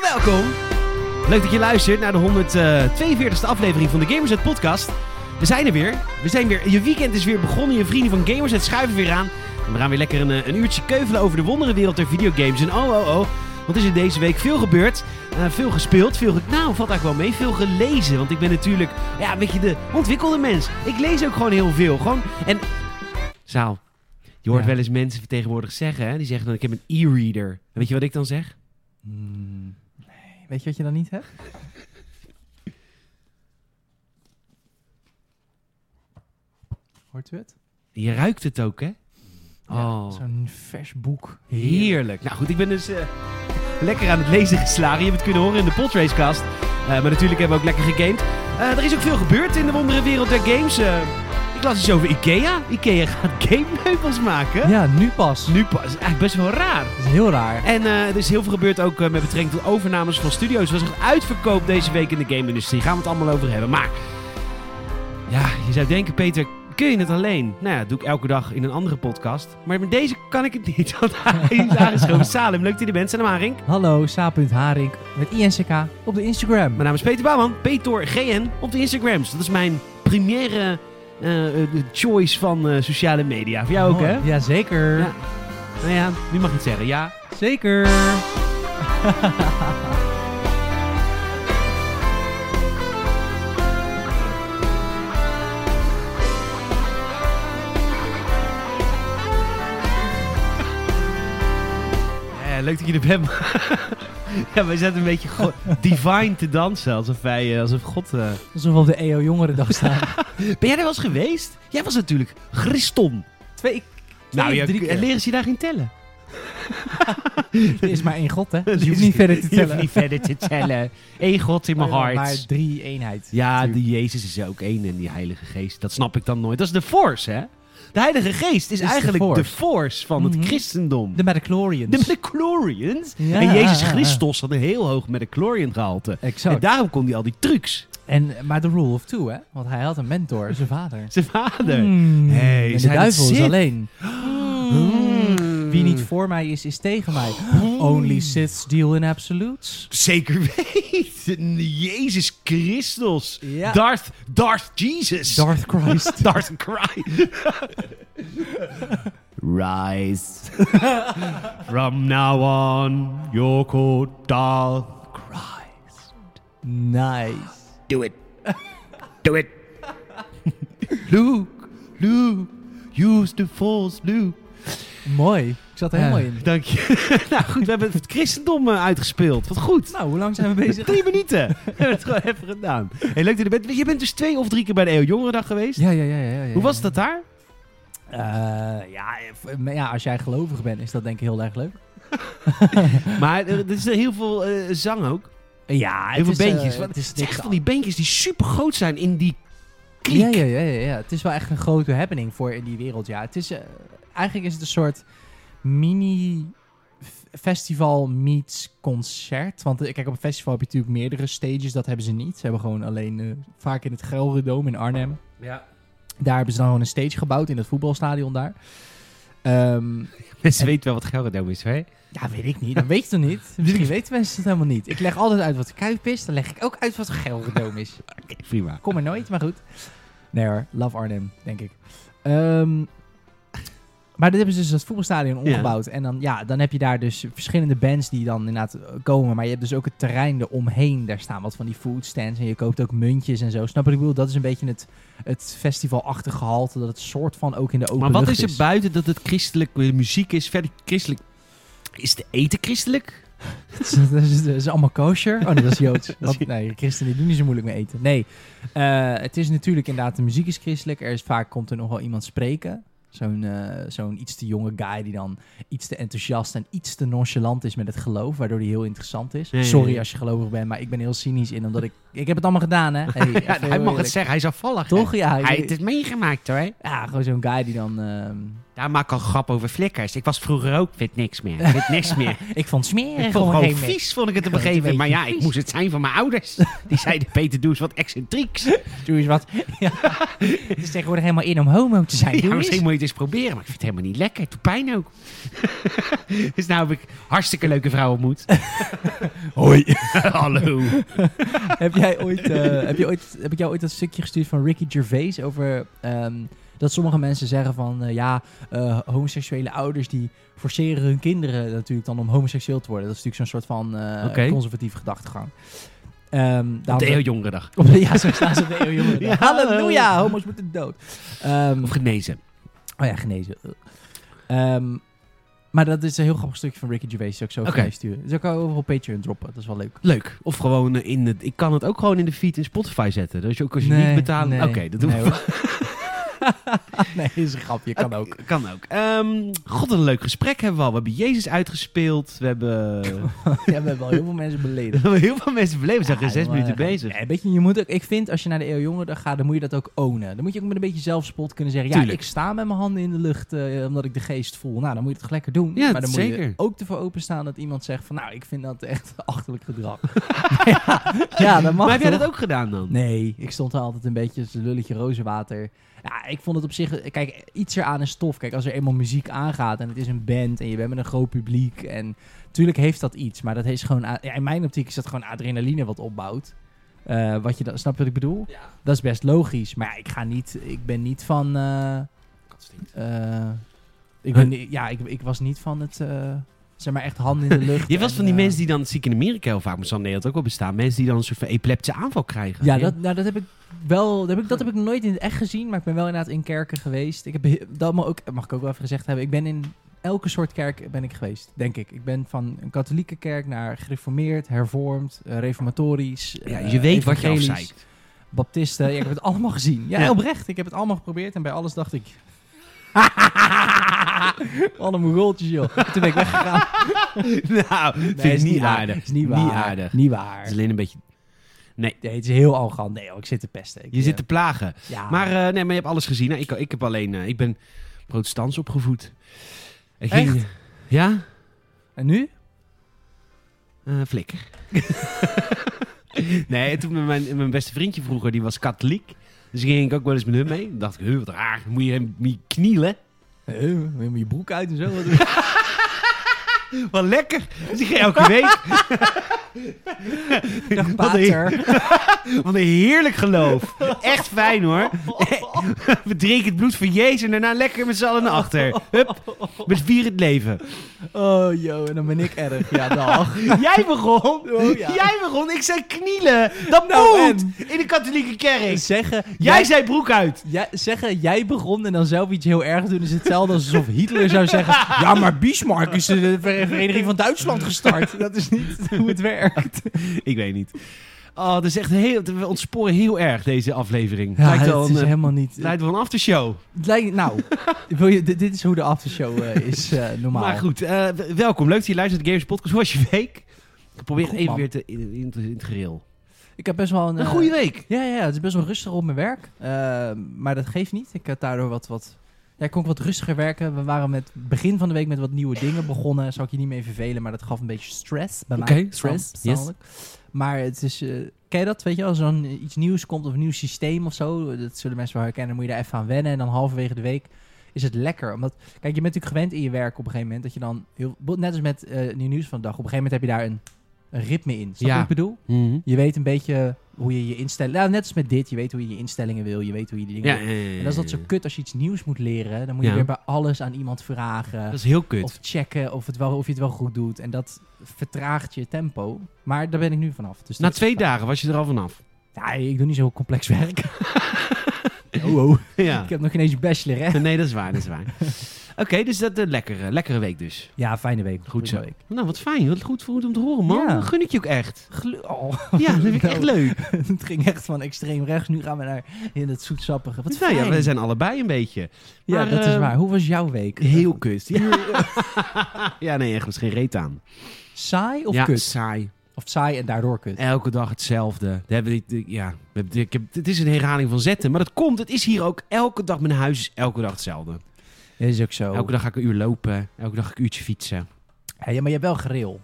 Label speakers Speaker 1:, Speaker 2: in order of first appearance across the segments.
Speaker 1: welkom. Leuk dat je luistert naar de 142e aflevering van de Gamerset podcast. We zijn er weer. We zijn weer. Je weekend is weer begonnen. Je vrienden van Gamerset schuiven weer aan. En we gaan weer lekker een, eh, een uurtje keuvelen over de wonderenwereld der videogames. En oh, oh, oh. Wat is er deze week veel gebeurd? Eh, veel gespeeld, veel... Ge nou, valt eigenlijk wel mee. Veel gelezen. Want ik ben natuurlijk, ja, weet je, de ontwikkelde mens. Ik lees ook gewoon heel veel. Gewoon... En... Zaal, je hoort
Speaker 2: Ja.
Speaker 1: wel eens mensen tegenwoordig zeggen, hè? Die zeggen dan, ik heb een e-reader. En weet je wat ik dan zeg?
Speaker 2: Mm, nee. Weet je wat je dan niet hebt? Hoort u het?
Speaker 1: Je ruikt het ook, hè?
Speaker 2: Ja,
Speaker 1: Oh,
Speaker 2: Zo'n vers boek.
Speaker 1: heerlijk. Nou goed, ik ben dus eh, lekker aan het lezen geslagen. Je hebt het kunnen horen in de Podracecast. Eh, maar natuurlijk hebben we ook lekker gegamed. Eh, er is ook veel gebeurd in de wonderenwereld der games. Eh, ik las iets over Ikea. Ikea gaat gamemeubels maken.
Speaker 2: Ja, nu pas.
Speaker 1: Nu pas. is Eigenlijk best wel raar.
Speaker 2: Dat is heel raar.
Speaker 1: En eh, er is heel veel gebeurd ook eh, met betrekking tot overnames van studio's. Er was echt uitverkoop deze week in de game-industrie. Gaan we het allemaal over hebben. Maar ja, je zou denken, Peter, kun je het alleen? Nou ja, dat doe ik elke dag in een andere podcast. Maar met deze kan ik het niet. Want hij is aangeschoven. Salem, leuk dat je er bent. Zijn naam Haring.
Speaker 2: Hallo, Sa.Haring met INCK op de Instagram.
Speaker 1: Mijn naam is Peter Bouwman. Peter GN op de Instagrams. Dat is mijn première eh, eh, choice van eh, sociale media. Voor jou ook, hè?
Speaker 2: Ja, zeker.
Speaker 1: Ja. Nou ja, nu mag je het zeggen. Ja,
Speaker 2: Zeker.
Speaker 1: Eh, leuk dat je er bent. ja, wij zaten een beetje go- divine te dansen. Alsof wij, eh, alsof God... eh,
Speaker 2: Alsof we op de EO Jongerendag staan.
Speaker 1: Ben jij er wel eens geweest? Jij was natuurlijk Christon.
Speaker 2: Twee,
Speaker 1: Nou,
Speaker 2: drie
Speaker 1: je,
Speaker 2: keer.
Speaker 1: en leren ze je daar geen tellen?
Speaker 2: er is maar één god, hè? Dus je hoeft niet verder te
Speaker 1: Je hoeft
Speaker 2: tellen.
Speaker 1: niet verder te tellen. Oh Eén God in mijn
Speaker 2: Maar-
Speaker 1: hart.
Speaker 2: Maar drie eenheid.
Speaker 1: Ja,
Speaker 2: Natuurlijk.
Speaker 1: die Jezus is ook één en die Heilige Geest. Dat snap ik dan nooit. Dat is de force, hè? De Heilige Geest is,
Speaker 2: de
Speaker 1: eigenlijk de force,
Speaker 2: force.
Speaker 1: van het
Speaker 2: Mhm.
Speaker 1: christendom.
Speaker 2: De Metaclorians.
Speaker 1: De Metaclorians.
Speaker 2: Ja.
Speaker 1: En Jezus Christus had een heel hoog Metaclorian gehalte.
Speaker 2: Exact.
Speaker 1: En daarom kon hij al die trucs.
Speaker 2: En, maar de rule of two, hè? Want hij had een mentor, zijn vader.
Speaker 1: Zijn vader.
Speaker 2: Hmm.
Speaker 1: Hey,
Speaker 2: en de
Speaker 1: zijn
Speaker 2: duivel
Speaker 1: het
Speaker 2: is
Speaker 1: Sith?
Speaker 2: alleen.
Speaker 1: Hmm.
Speaker 2: Wie niet voor mij is, is tegen mij. Only Siths deal in absolutes.
Speaker 1: Zeker weten. Jezus Christus.
Speaker 2: Ja.
Speaker 1: Darth, Darth Jesus.
Speaker 2: Darth Christ.
Speaker 1: Darth Christ. Rise. From now on, you're called Darth Christ.
Speaker 2: nice.
Speaker 1: Do it. Do it. Luke, Luke, use the force, Luke.
Speaker 2: Mooi. Ik zat er helemaal
Speaker 1: Eh,
Speaker 2: in.
Speaker 1: Dank je. nou goed, we hebben het christendom eh, uitgespeeld. Wat goed.
Speaker 2: Nou, hoe lang zijn we bezig?
Speaker 1: Drie minuten. We hebben het gewoon even gedaan. Hey, leuk dat je er bent. Je bent dus twee of drie keer bij de EO Jongerendag geweest.
Speaker 2: Ja, ja, ja. ja, ja, ja.
Speaker 1: Hoe was dat daar?
Speaker 2: Eh, ja, eh, maar ja, als jij gelovig bent, is dat denk ik heel erg leuk.
Speaker 1: Maar er, er is heel veel eh, zang ook.
Speaker 2: Ja,
Speaker 1: Heel veel bandjes.
Speaker 2: eh,
Speaker 1: Wat-
Speaker 2: het is
Speaker 1: Het is echt
Speaker 2: dik-
Speaker 1: van die bandjes die super groot zijn in die kliek.
Speaker 2: Ja, ja, ja, ja, ja. Het is wel echt een grote happening voor in die wereld. Ja, het is eh, eigenlijk is het een soort mini f- festival meets concert. Want eh, kijk, op een festival heb je natuurlijk meerdere stages. Dat hebben ze niet. Ze hebben gewoon alleen eh, vaak in het Gelredome in Arnhem. Daar hebben ze dan gewoon een stage gebouwd in het voetbalstadion daar. Ehm,
Speaker 1: Mensen weten wel wat Gelredome is, hè?
Speaker 2: ja, weet ik niet. Dat weet je toch niet? Misschien weten mensen het helemaal niet. Ik leg altijd uit wat de Kuip is. Dan leg ik ook uit wat de Gelredome is.
Speaker 1: Prima.
Speaker 2: Kom er nooit, maar goed. Nee hoor, love Arnhem, denk ik. Ehm, maar dit hebben ze dus dat voetbalstadion omgebouwd. En dan, ja, dan heb je daar dus verschillende bands die dan inderdaad eh, komen. Maar je hebt dus ook het terrein eromheen. Daar staan wat van die foodstands en je koopt ook muntjes en zo. Snap je wat ik bedoel? Dat is een beetje het, het festivalachtige gehalte. Dat het soort van ook in de open
Speaker 1: Maar wat
Speaker 2: lucht
Speaker 1: is er buiten dat het christelijk eh, muziek is? Verder christelijk. Is de eten christelijk?
Speaker 2: Dat is, dat is- dat is allemaal kosher. Oh nee, dat is Joods.
Speaker 1: Dat is-
Speaker 2: Want, nee, christenen doen niet zo moeilijk mee eten. Nee, eh, het is natuurlijk inderdaad, de muziek is christelijk. Er is vaak, komt er nog wel iemand spreken. Zo'n eh, zo'n iets te jonge guy die dan iets te enthousiast en iets te nonchalant is met het geloof. Waardoor die heel interessant is.
Speaker 1: Ja, ja, ja.
Speaker 2: Sorry als je gelovig bent, maar ik ben heel cynisch in. Omdat ik, ik heb het allemaal gedaan hè. Hey, even
Speaker 1: Ja, hij
Speaker 2: heel
Speaker 1: mag het
Speaker 2: eerlijk.
Speaker 1: zeggen, hij is afvallig. hè?
Speaker 2: eh, Toch? Ja,
Speaker 1: Hij
Speaker 2: hij,
Speaker 1: heeft het meegemaakt hoor.
Speaker 2: ja gewoon zo'n guy die dan... ehm,
Speaker 1: Daar maak ik al grap over flikkers. Ik was vroeger ook, vind niks meer. Ik Vind niks meer.
Speaker 2: Ik vond smerig
Speaker 1: Ik vond
Speaker 2: op een
Speaker 1: gewoon
Speaker 2: gegeven moment.
Speaker 1: vies, vond ik het op een
Speaker 2: Ik vond het
Speaker 1: gegeven
Speaker 2: een
Speaker 1: moment. Maar ja,
Speaker 2: beetje
Speaker 1: ik
Speaker 2: vies.
Speaker 1: moest het zijn van mijn ouders. Die zeiden, Peter, doe eens wat excentrieks.
Speaker 2: Doe eens wat. Ja. Het is tegenwoordig helemaal in om homo te zijn.
Speaker 1: Ja,
Speaker 2: Doe
Speaker 1: misschien
Speaker 2: eens.
Speaker 1: moet je het eens proberen, maar ik vind het helemaal niet lekker. Het doet pijn ook. dus nou heb ik hartstikke leuke vrouw ontmoet.
Speaker 2: Hoi.
Speaker 1: Hallo.
Speaker 2: heb jij ooit, eh, heb je ooit, heb ik jou ooit dat stukje gestuurd van Ricky Gervais over ehm, dat sommige mensen zeggen van eh, ja, eh, homoseksuele ouders die forceren hun kinderen natuurlijk dan om homoseksueel te worden. Dat is natuurlijk zo'n soort van eh
Speaker 1: Oké.
Speaker 2: conservatieve gedachtegang. Ehm,
Speaker 1: Op
Speaker 2: daarom-
Speaker 1: de heel jongere dag.
Speaker 2: op de- ja, zo staan ze op de eeuw, jongen.
Speaker 1: Ja, hallo.
Speaker 2: Halleluja, homo's moeten dood. Ehm,
Speaker 1: Of genezen.
Speaker 2: Oh ja, genezen. Ehm, maar dat is een heel grappig stukje van Ricky Gervais. Zou ik zo
Speaker 1: Oké.
Speaker 2: voor je sturen. Dus ik kan over op Patreon droppen. Dat is wel leuk.
Speaker 1: Leuk. Of gewoon eh, in het... Ik kan het ook gewoon in de feed in Spotify zetten. Dus ook als je niet betaalt... Oké, dat doen
Speaker 2: nee,
Speaker 1: we.
Speaker 2: hoor. nee, is een grapje. Kan ook.
Speaker 1: Kan ook. Ehm, God, wat een leuk gesprek hebben we al. We hebben Jezus uitgespeeld. We hebben,
Speaker 2: Ja, we hebben wel heel veel mensen
Speaker 1: we
Speaker 2: beledigd.
Speaker 1: hebben heel veel mensen beleefd. We zijn
Speaker 2: Ja,
Speaker 1: geen zes
Speaker 2: maar-
Speaker 1: minuten bezig.
Speaker 2: Nee, weet je, je moet ook, ik vind als je naar de Eeuw Jongeren gaat, dan moet je dat ook ownen. Dan moet je ook met een beetje zelfspot kunnen zeggen: Ja,
Speaker 1: Tuurlijk.
Speaker 2: ik sta met mijn handen in de lucht eh, omdat ik de geest voel. Nou, dan moet je het toch lekker doen.
Speaker 1: Ja,
Speaker 2: maar dan moet
Speaker 1: zeker.
Speaker 2: je ook ervoor openstaan dat iemand zegt: van, Nou, ik vind dat echt achterlijk gedrag. ja, ja, dat mag.
Speaker 1: maar heb jij
Speaker 2: toch?
Speaker 1: dat ook gedaan dan?
Speaker 2: Nee, ik stond daar altijd een beetje als een lulletje rozenwater. Ja, ik vond het op zich... Kijk, iets eraan is tof. Kijk, als er eenmaal muziek aangaat en het is een band en je bent met een groot publiek. En natuurlijk heeft dat iets, maar dat heeft gewoon... a- Ja, in mijn optiek is dat gewoon adrenaline wat opbouwt. Eh, wat je dan, snap je wat ik bedoel? Dat is best logisch. Maar ja, ik ga niet... Ik ben niet van... eh, eh, ik, ben, niet- ja, ik, ik was niet van het... eh, zeg maar echt handen in de lucht.
Speaker 1: Je was
Speaker 2: en,
Speaker 1: van die
Speaker 2: eh,
Speaker 1: mensen die dan, ziek in Amerika heel vaak, maar zal in Nederland ook wel bestaan, mensen die dan een soort van epileptische aanval krijgen.
Speaker 2: Ja, dat, nou, dat heb ik wel. Dat heb ik, dat heb ik nooit in het echt gezien, maar ik ben wel inderdaad in kerken geweest. Ik heb he- dat mag, ook, mag ik ook wel even gezegd hebben. Ik ben in elke soort kerk ben ik geweest, denk ik. Ik ben van een katholieke kerk naar gereformeerd, hervormd, eh, reformatorisch.
Speaker 1: Ja,
Speaker 2: eh,
Speaker 1: je weet wat je
Speaker 2: evangelisch,
Speaker 1: afzeikt.
Speaker 2: Baptisten. Ja, ik heb het allemaal gezien. Ja,
Speaker 1: Ja.
Speaker 2: oprecht. Ik heb het allemaal geprobeerd en bij alles dacht ik.
Speaker 1: Ah.
Speaker 2: Wat een mongooltjes, joh. Toen ben ik weggegaan.
Speaker 1: nou, vind ik
Speaker 2: is
Speaker 1: niet
Speaker 2: waar.
Speaker 1: aardig.
Speaker 2: Is niet waar.
Speaker 1: aardig.
Speaker 2: Niet
Speaker 1: Het is
Speaker 2: waar.
Speaker 1: alleen een beetje... Nee,
Speaker 2: Nee, het is heel arrogant. Nee, joh, ik zit te pesten. Ik, eh,
Speaker 1: je zit te plagen.
Speaker 2: ja.
Speaker 1: Maar, eh, nee, maar je hebt alles gezien. Nou, ik, ik heb alleen... eh, ik ben protestants opgevoed. Ik
Speaker 2: Echt?
Speaker 1: ja?
Speaker 2: En nu?
Speaker 1: Eh, flikker. nee, toen mijn, mijn beste vriendje vroeger, die was katholiek. Dus ging ik ook wel eens met hem mee. Dan dacht ik, huh, wat raar. Moet je, moet je knielen?
Speaker 2: Hé, moet je met je broek uit en zo.
Speaker 1: Wat lekker. Dus ik ging elke week.
Speaker 2: Dag
Speaker 1: Wat een-
Speaker 2: pater.
Speaker 1: Wat een heerlijk geloof. Echt fijn hoor. We drinken het bloed van Jezus en daarna lekker met z'n allen naar achter. Hup, we vieren het leven.
Speaker 2: Oh, joh, en dan ben ik erg. Ja, dag.
Speaker 1: Jij begon.
Speaker 2: Oh, ja.
Speaker 1: Jij begon. Ik zei knielen. Dat
Speaker 2: Nou,
Speaker 1: moet. In de katholieke kerk.
Speaker 2: zeggen,
Speaker 1: Jij
Speaker 2: jij,
Speaker 1: zei broek uit.
Speaker 2: jij, zeggen, jij begon en dan zelf iets heel erg doen... is hetzelfde alsof Hitler zou zeggen... Ja, maar Bismarck is de Ver- Vereniging van Duitsland gestart. Dat is niet hoe het werkt.
Speaker 1: Ik weet niet. Oh, dat is echt heel, we ontsporen heel erg deze aflevering.
Speaker 2: Ja,
Speaker 1: lijkt, wel
Speaker 2: het is
Speaker 1: een, eh,
Speaker 2: helemaal niet...
Speaker 1: lijkt wel een aftershow.
Speaker 2: het lijkt, nou, wil je, dit, dit is hoe de aftershow eh, is eh, normaal.
Speaker 1: Maar goed, eh, w- welkom. Leuk dat je luistert naar de Games Podcast. Hoe was je week? Ik probeer het
Speaker 2: Goed,
Speaker 1: even
Speaker 2: man.
Speaker 1: weer te, in, in- in het gereel.
Speaker 2: Ik heb best wel een...
Speaker 1: Een
Speaker 2: eh,
Speaker 1: goede week.
Speaker 2: Ja, ja, het is best wel rustig op mijn werk. Eh, maar dat geeft niet. Ik had daardoor wat, wat... Ja, ik kon ook wat rustiger werken. We waren met begin van de week met wat nieuwe dingen begonnen. Zou ik je niet mee vervelen, maar dat gaf een beetje stress bij mij.
Speaker 1: Oké, stress,
Speaker 2: Persoonlijk. Maar het is... eh, ken je dat, weet je, als er dan iets nieuws komt of een nieuw systeem of zo, dat zullen mensen wel herkennen, moet je daar even aan wennen. En dan halverwege de week is het lekker. Omdat, kijk, je bent natuurlijk gewend in je werk op een gegeven moment dat je dan, heel, net als met eh nieuw nieuws van de dag, op een gegeven moment heb je daar een, een ritme in. Snap je
Speaker 1: Ja.
Speaker 2: wat ik bedoel?
Speaker 1: Mm-hmm.
Speaker 2: Je weet een beetje hoe je je instellingen... Nou, net als met dit. Je weet hoe je je instellingen wil. Je weet hoe je die dingen...
Speaker 1: Ja,
Speaker 2: wil. En dat is dat zo kut als je iets nieuws moet leren. Dan moet je
Speaker 1: Ja.
Speaker 2: weer bij alles aan iemand vragen.
Speaker 1: Dat is heel kut.
Speaker 2: Of checken of, het wel, of je het wel goed doet. En dat vertraagt je tempo. Maar daar ben ik nu vanaf. Dus
Speaker 1: Na
Speaker 2: dat-
Speaker 1: twee dagen was je er al vanaf.
Speaker 2: Ja, ik doe niet zo complex werk. oh, oh.
Speaker 1: Ja.
Speaker 2: Ik heb nog geen eens een bachelor, hè?
Speaker 1: eh, Nee, dat is waar, dat is waar. Oké, dus dat een lekkere, lekkere week dus.
Speaker 2: Ja, fijne week.
Speaker 1: Goed zo.
Speaker 2: Prima week.
Speaker 1: Nou, wat fijn. Wat goed voor om te horen, man.
Speaker 2: Ja.
Speaker 1: Dan gun ik je ook echt.
Speaker 2: Gelu- oh,
Speaker 1: Ja, dat vind ik echt
Speaker 2: Nou,
Speaker 1: leuk.
Speaker 2: het ging echt van extreem rechts. Nu gaan we naar in het zoetsappige. Wat
Speaker 1: Nou
Speaker 2: fijn.
Speaker 1: ja, we zijn allebei een beetje.
Speaker 2: Ja,
Speaker 1: maar,
Speaker 2: dat
Speaker 1: eh,
Speaker 2: is waar. Hoe was jouw week?
Speaker 1: Heel kut. Ja, ja nee, echt. was geen reet aan.
Speaker 2: Saai of
Speaker 1: ja,
Speaker 2: kut?
Speaker 1: saai.
Speaker 2: Of saai en daardoor kut.
Speaker 1: Elke dag hetzelfde. Daar hebben we dit- ja, we hebben- ik heb, het is een herhaling van zetten. Maar dat komt. Het is hier ook elke dag. Mijn huis is elke dag hetzelfde.
Speaker 2: Dat is ook zo.
Speaker 1: Elke dag ga ik een uur lopen. Elke dag een uurtje fietsen.
Speaker 2: Ja, ja, maar je hebt wel gereel.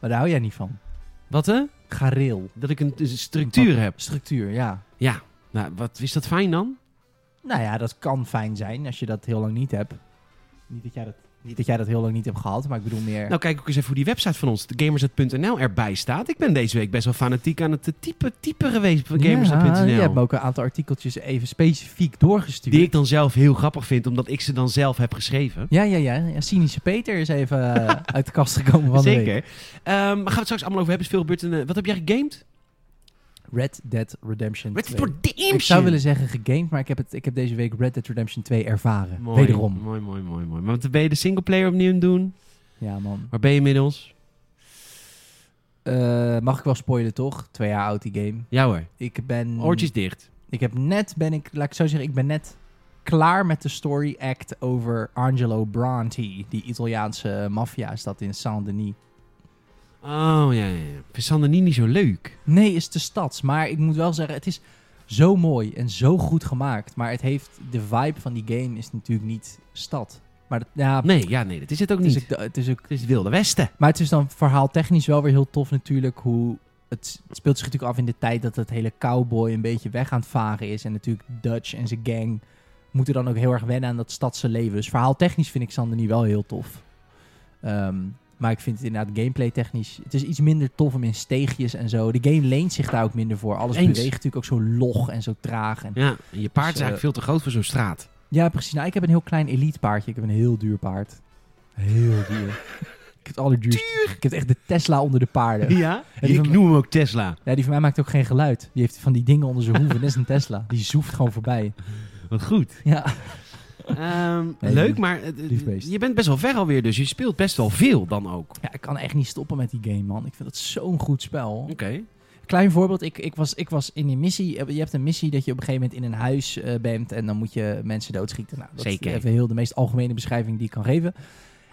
Speaker 2: Maar daar hou jij niet van.
Speaker 1: Wat hè?
Speaker 2: Gareel.
Speaker 1: Dat ik een een structuur heb.
Speaker 2: Structuur, ja.
Speaker 1: Ja. Nou, wat is dat fijn dan?
Speaker 2: Nou ja, dat kan fijn zijn als je dat heel lang niet hebt. Niet dat jij dat, niet dat, jij dat heel lang niet hebt gehad, maar ik bedoel meer...
Speaker 1: Nou, kijk ook eens even hoe die website van ons, de gamerset.nl, erbij staat. Ik ben deze week best wel fanatiek aan het eh, typen, typen geweest van
Speaker 2: ja,
Speaker 1: gamerset.nl.
Speaker 2: je hebt me ook een aantal artikeltjes even specifiek doorgestuurd.
Speaker 1: die ik dan zelf heel grappig vind, omdat ik ze dan zelf heb geschreven.
Speaker 2: Ja, ja, ja, ja. Cynische Peter is even eh, uit de kast gekomen van de
Speaker 1: Zeker.
Speaker 2: week.
Speaker 1: Ehm, maar gaan we het straks allemaal over hebben. Is veel gebeurd. In, eh, wat heb jij gegamed?
Speaker 2: Red Dead Redemption
Speaker 1: Red
Speaker 2: 2.
Speaker 1: Dead Redemption.
Speaker 2: Ik zou willen zeggen gegamed, maar ik heb, het, ik heb deze week Red Dead Redemption 2 ervaren.
Speaker 1: Mooi,
Speaker 2: Wederom.
Speaker 1: Mooi, mooi, mooi, mooi. Maar wat ben je de singleplayer opnieuw aan het doen?
Speaker 2: Ja, man.
Speaker 1: Waar ben je inmiddels?
Speaker 2: Eh, mag ik wel spoilen, toch? Twee jaar oud die game.
Speaker 1: Ja hoor.
Speaker 2: Ik ben...
Speaker 1: Oortjes dicht.
Speaker 2: Ik heb net, ben ik, laat ik zo zeggen, ik ben net klaar met de story act over Angelo Branti, die Italiaanse maffia is dat in Saint-Denis.
Speaker 1: Oh ja, ja, ja. Vind Sanderini niet zo leuk?
Speaker 2: Nee, is de stads, maar ik moet wel zeggen, het is zo mooi en zo goed gemaakt, maar het heeft, de vibe van die game is natuurlijk niet stad. Maar dat, ja,
Speaker 1: Nee, ja, nee, dat is het ook
Speaker 2: het, is
Speaker 1: niet.
Speaker 2: ook, het is ook
Speaker 1: Het is het Wilde Westen.
Speaker 2: Maar het is dan verhaaltechnisch wel weer heel tof natuurlijk hoe... Het het speelt zich natuurlijk af in de tijd dat het hele cowboy een beetje weg aan het varen is. En natuurlijk Dutch en zijn gang moeten dan ook heel erg wennen aan dat stadse leven. Dus verhaaltechnisch vind ik Sander niet wel heel tof. Ehm, maar ik vind het inderdaad gameplay technisch... Het is iets minder tof om in steegjes en zo. De game leent zich daar ook minder voor. Alles
Speaker 1: Eens.
Speaker 2: beweegt natuurlijk ook zo log en zo traag. En...
Speaker 1: Ja, en je paard is
Speaker 2: Dus, eh,
Speaker 1: eigenlijk veel te groot voor zo'n straat.
Speaker 2: Ja, precies. Nou, ik heb een heel klein elite paardje. Ik heb een heel duur paard. Heel duur. ik heb het allerduurste. Ik heb echt de Tesla onder de paarden.
Speaker 1: Ja?
Speaker 2: die
Speaker 1: Ik
Speaker 2: van-
Speaker 1: noem hem ook Tesla.
Speaker 2: Ja, die van mij maakt ook geen geluid. Die heeft van die dingen onder zijn hoeven. Dat is een Tesla. Die zoeft gewoon voorbij.
Speaker 1: Wat goed.
Speaker 2: Ja.
Speaker 1: Ehm,
Speaker 2: Nee,
Speaker 1: leuk,
Speaker 2: lief-
Speaker 1: maar eh, eh,
Speaker 2: lief beest.
Speaker 1: je bent best wel ver alweer, dus je speelt best wel veel dan ook.
Speaker 2: ja, ik kan echt niet stoppen met die game, man. Ik vind dat zo'n goed spel.
Speaker 1: Oké.
Speaker 2: Klein voorbeeld. Ik, ik, was, ik was in die missie. Eh, Je hebt een missie dat je op een gegeven moment in een huis eh, bent. En dan moet je mensen doodschieten. Nou, dat
Speaker 1: Zeker.
Speaker 2: is even heel de meest algemene beschrijving die ik kan geven.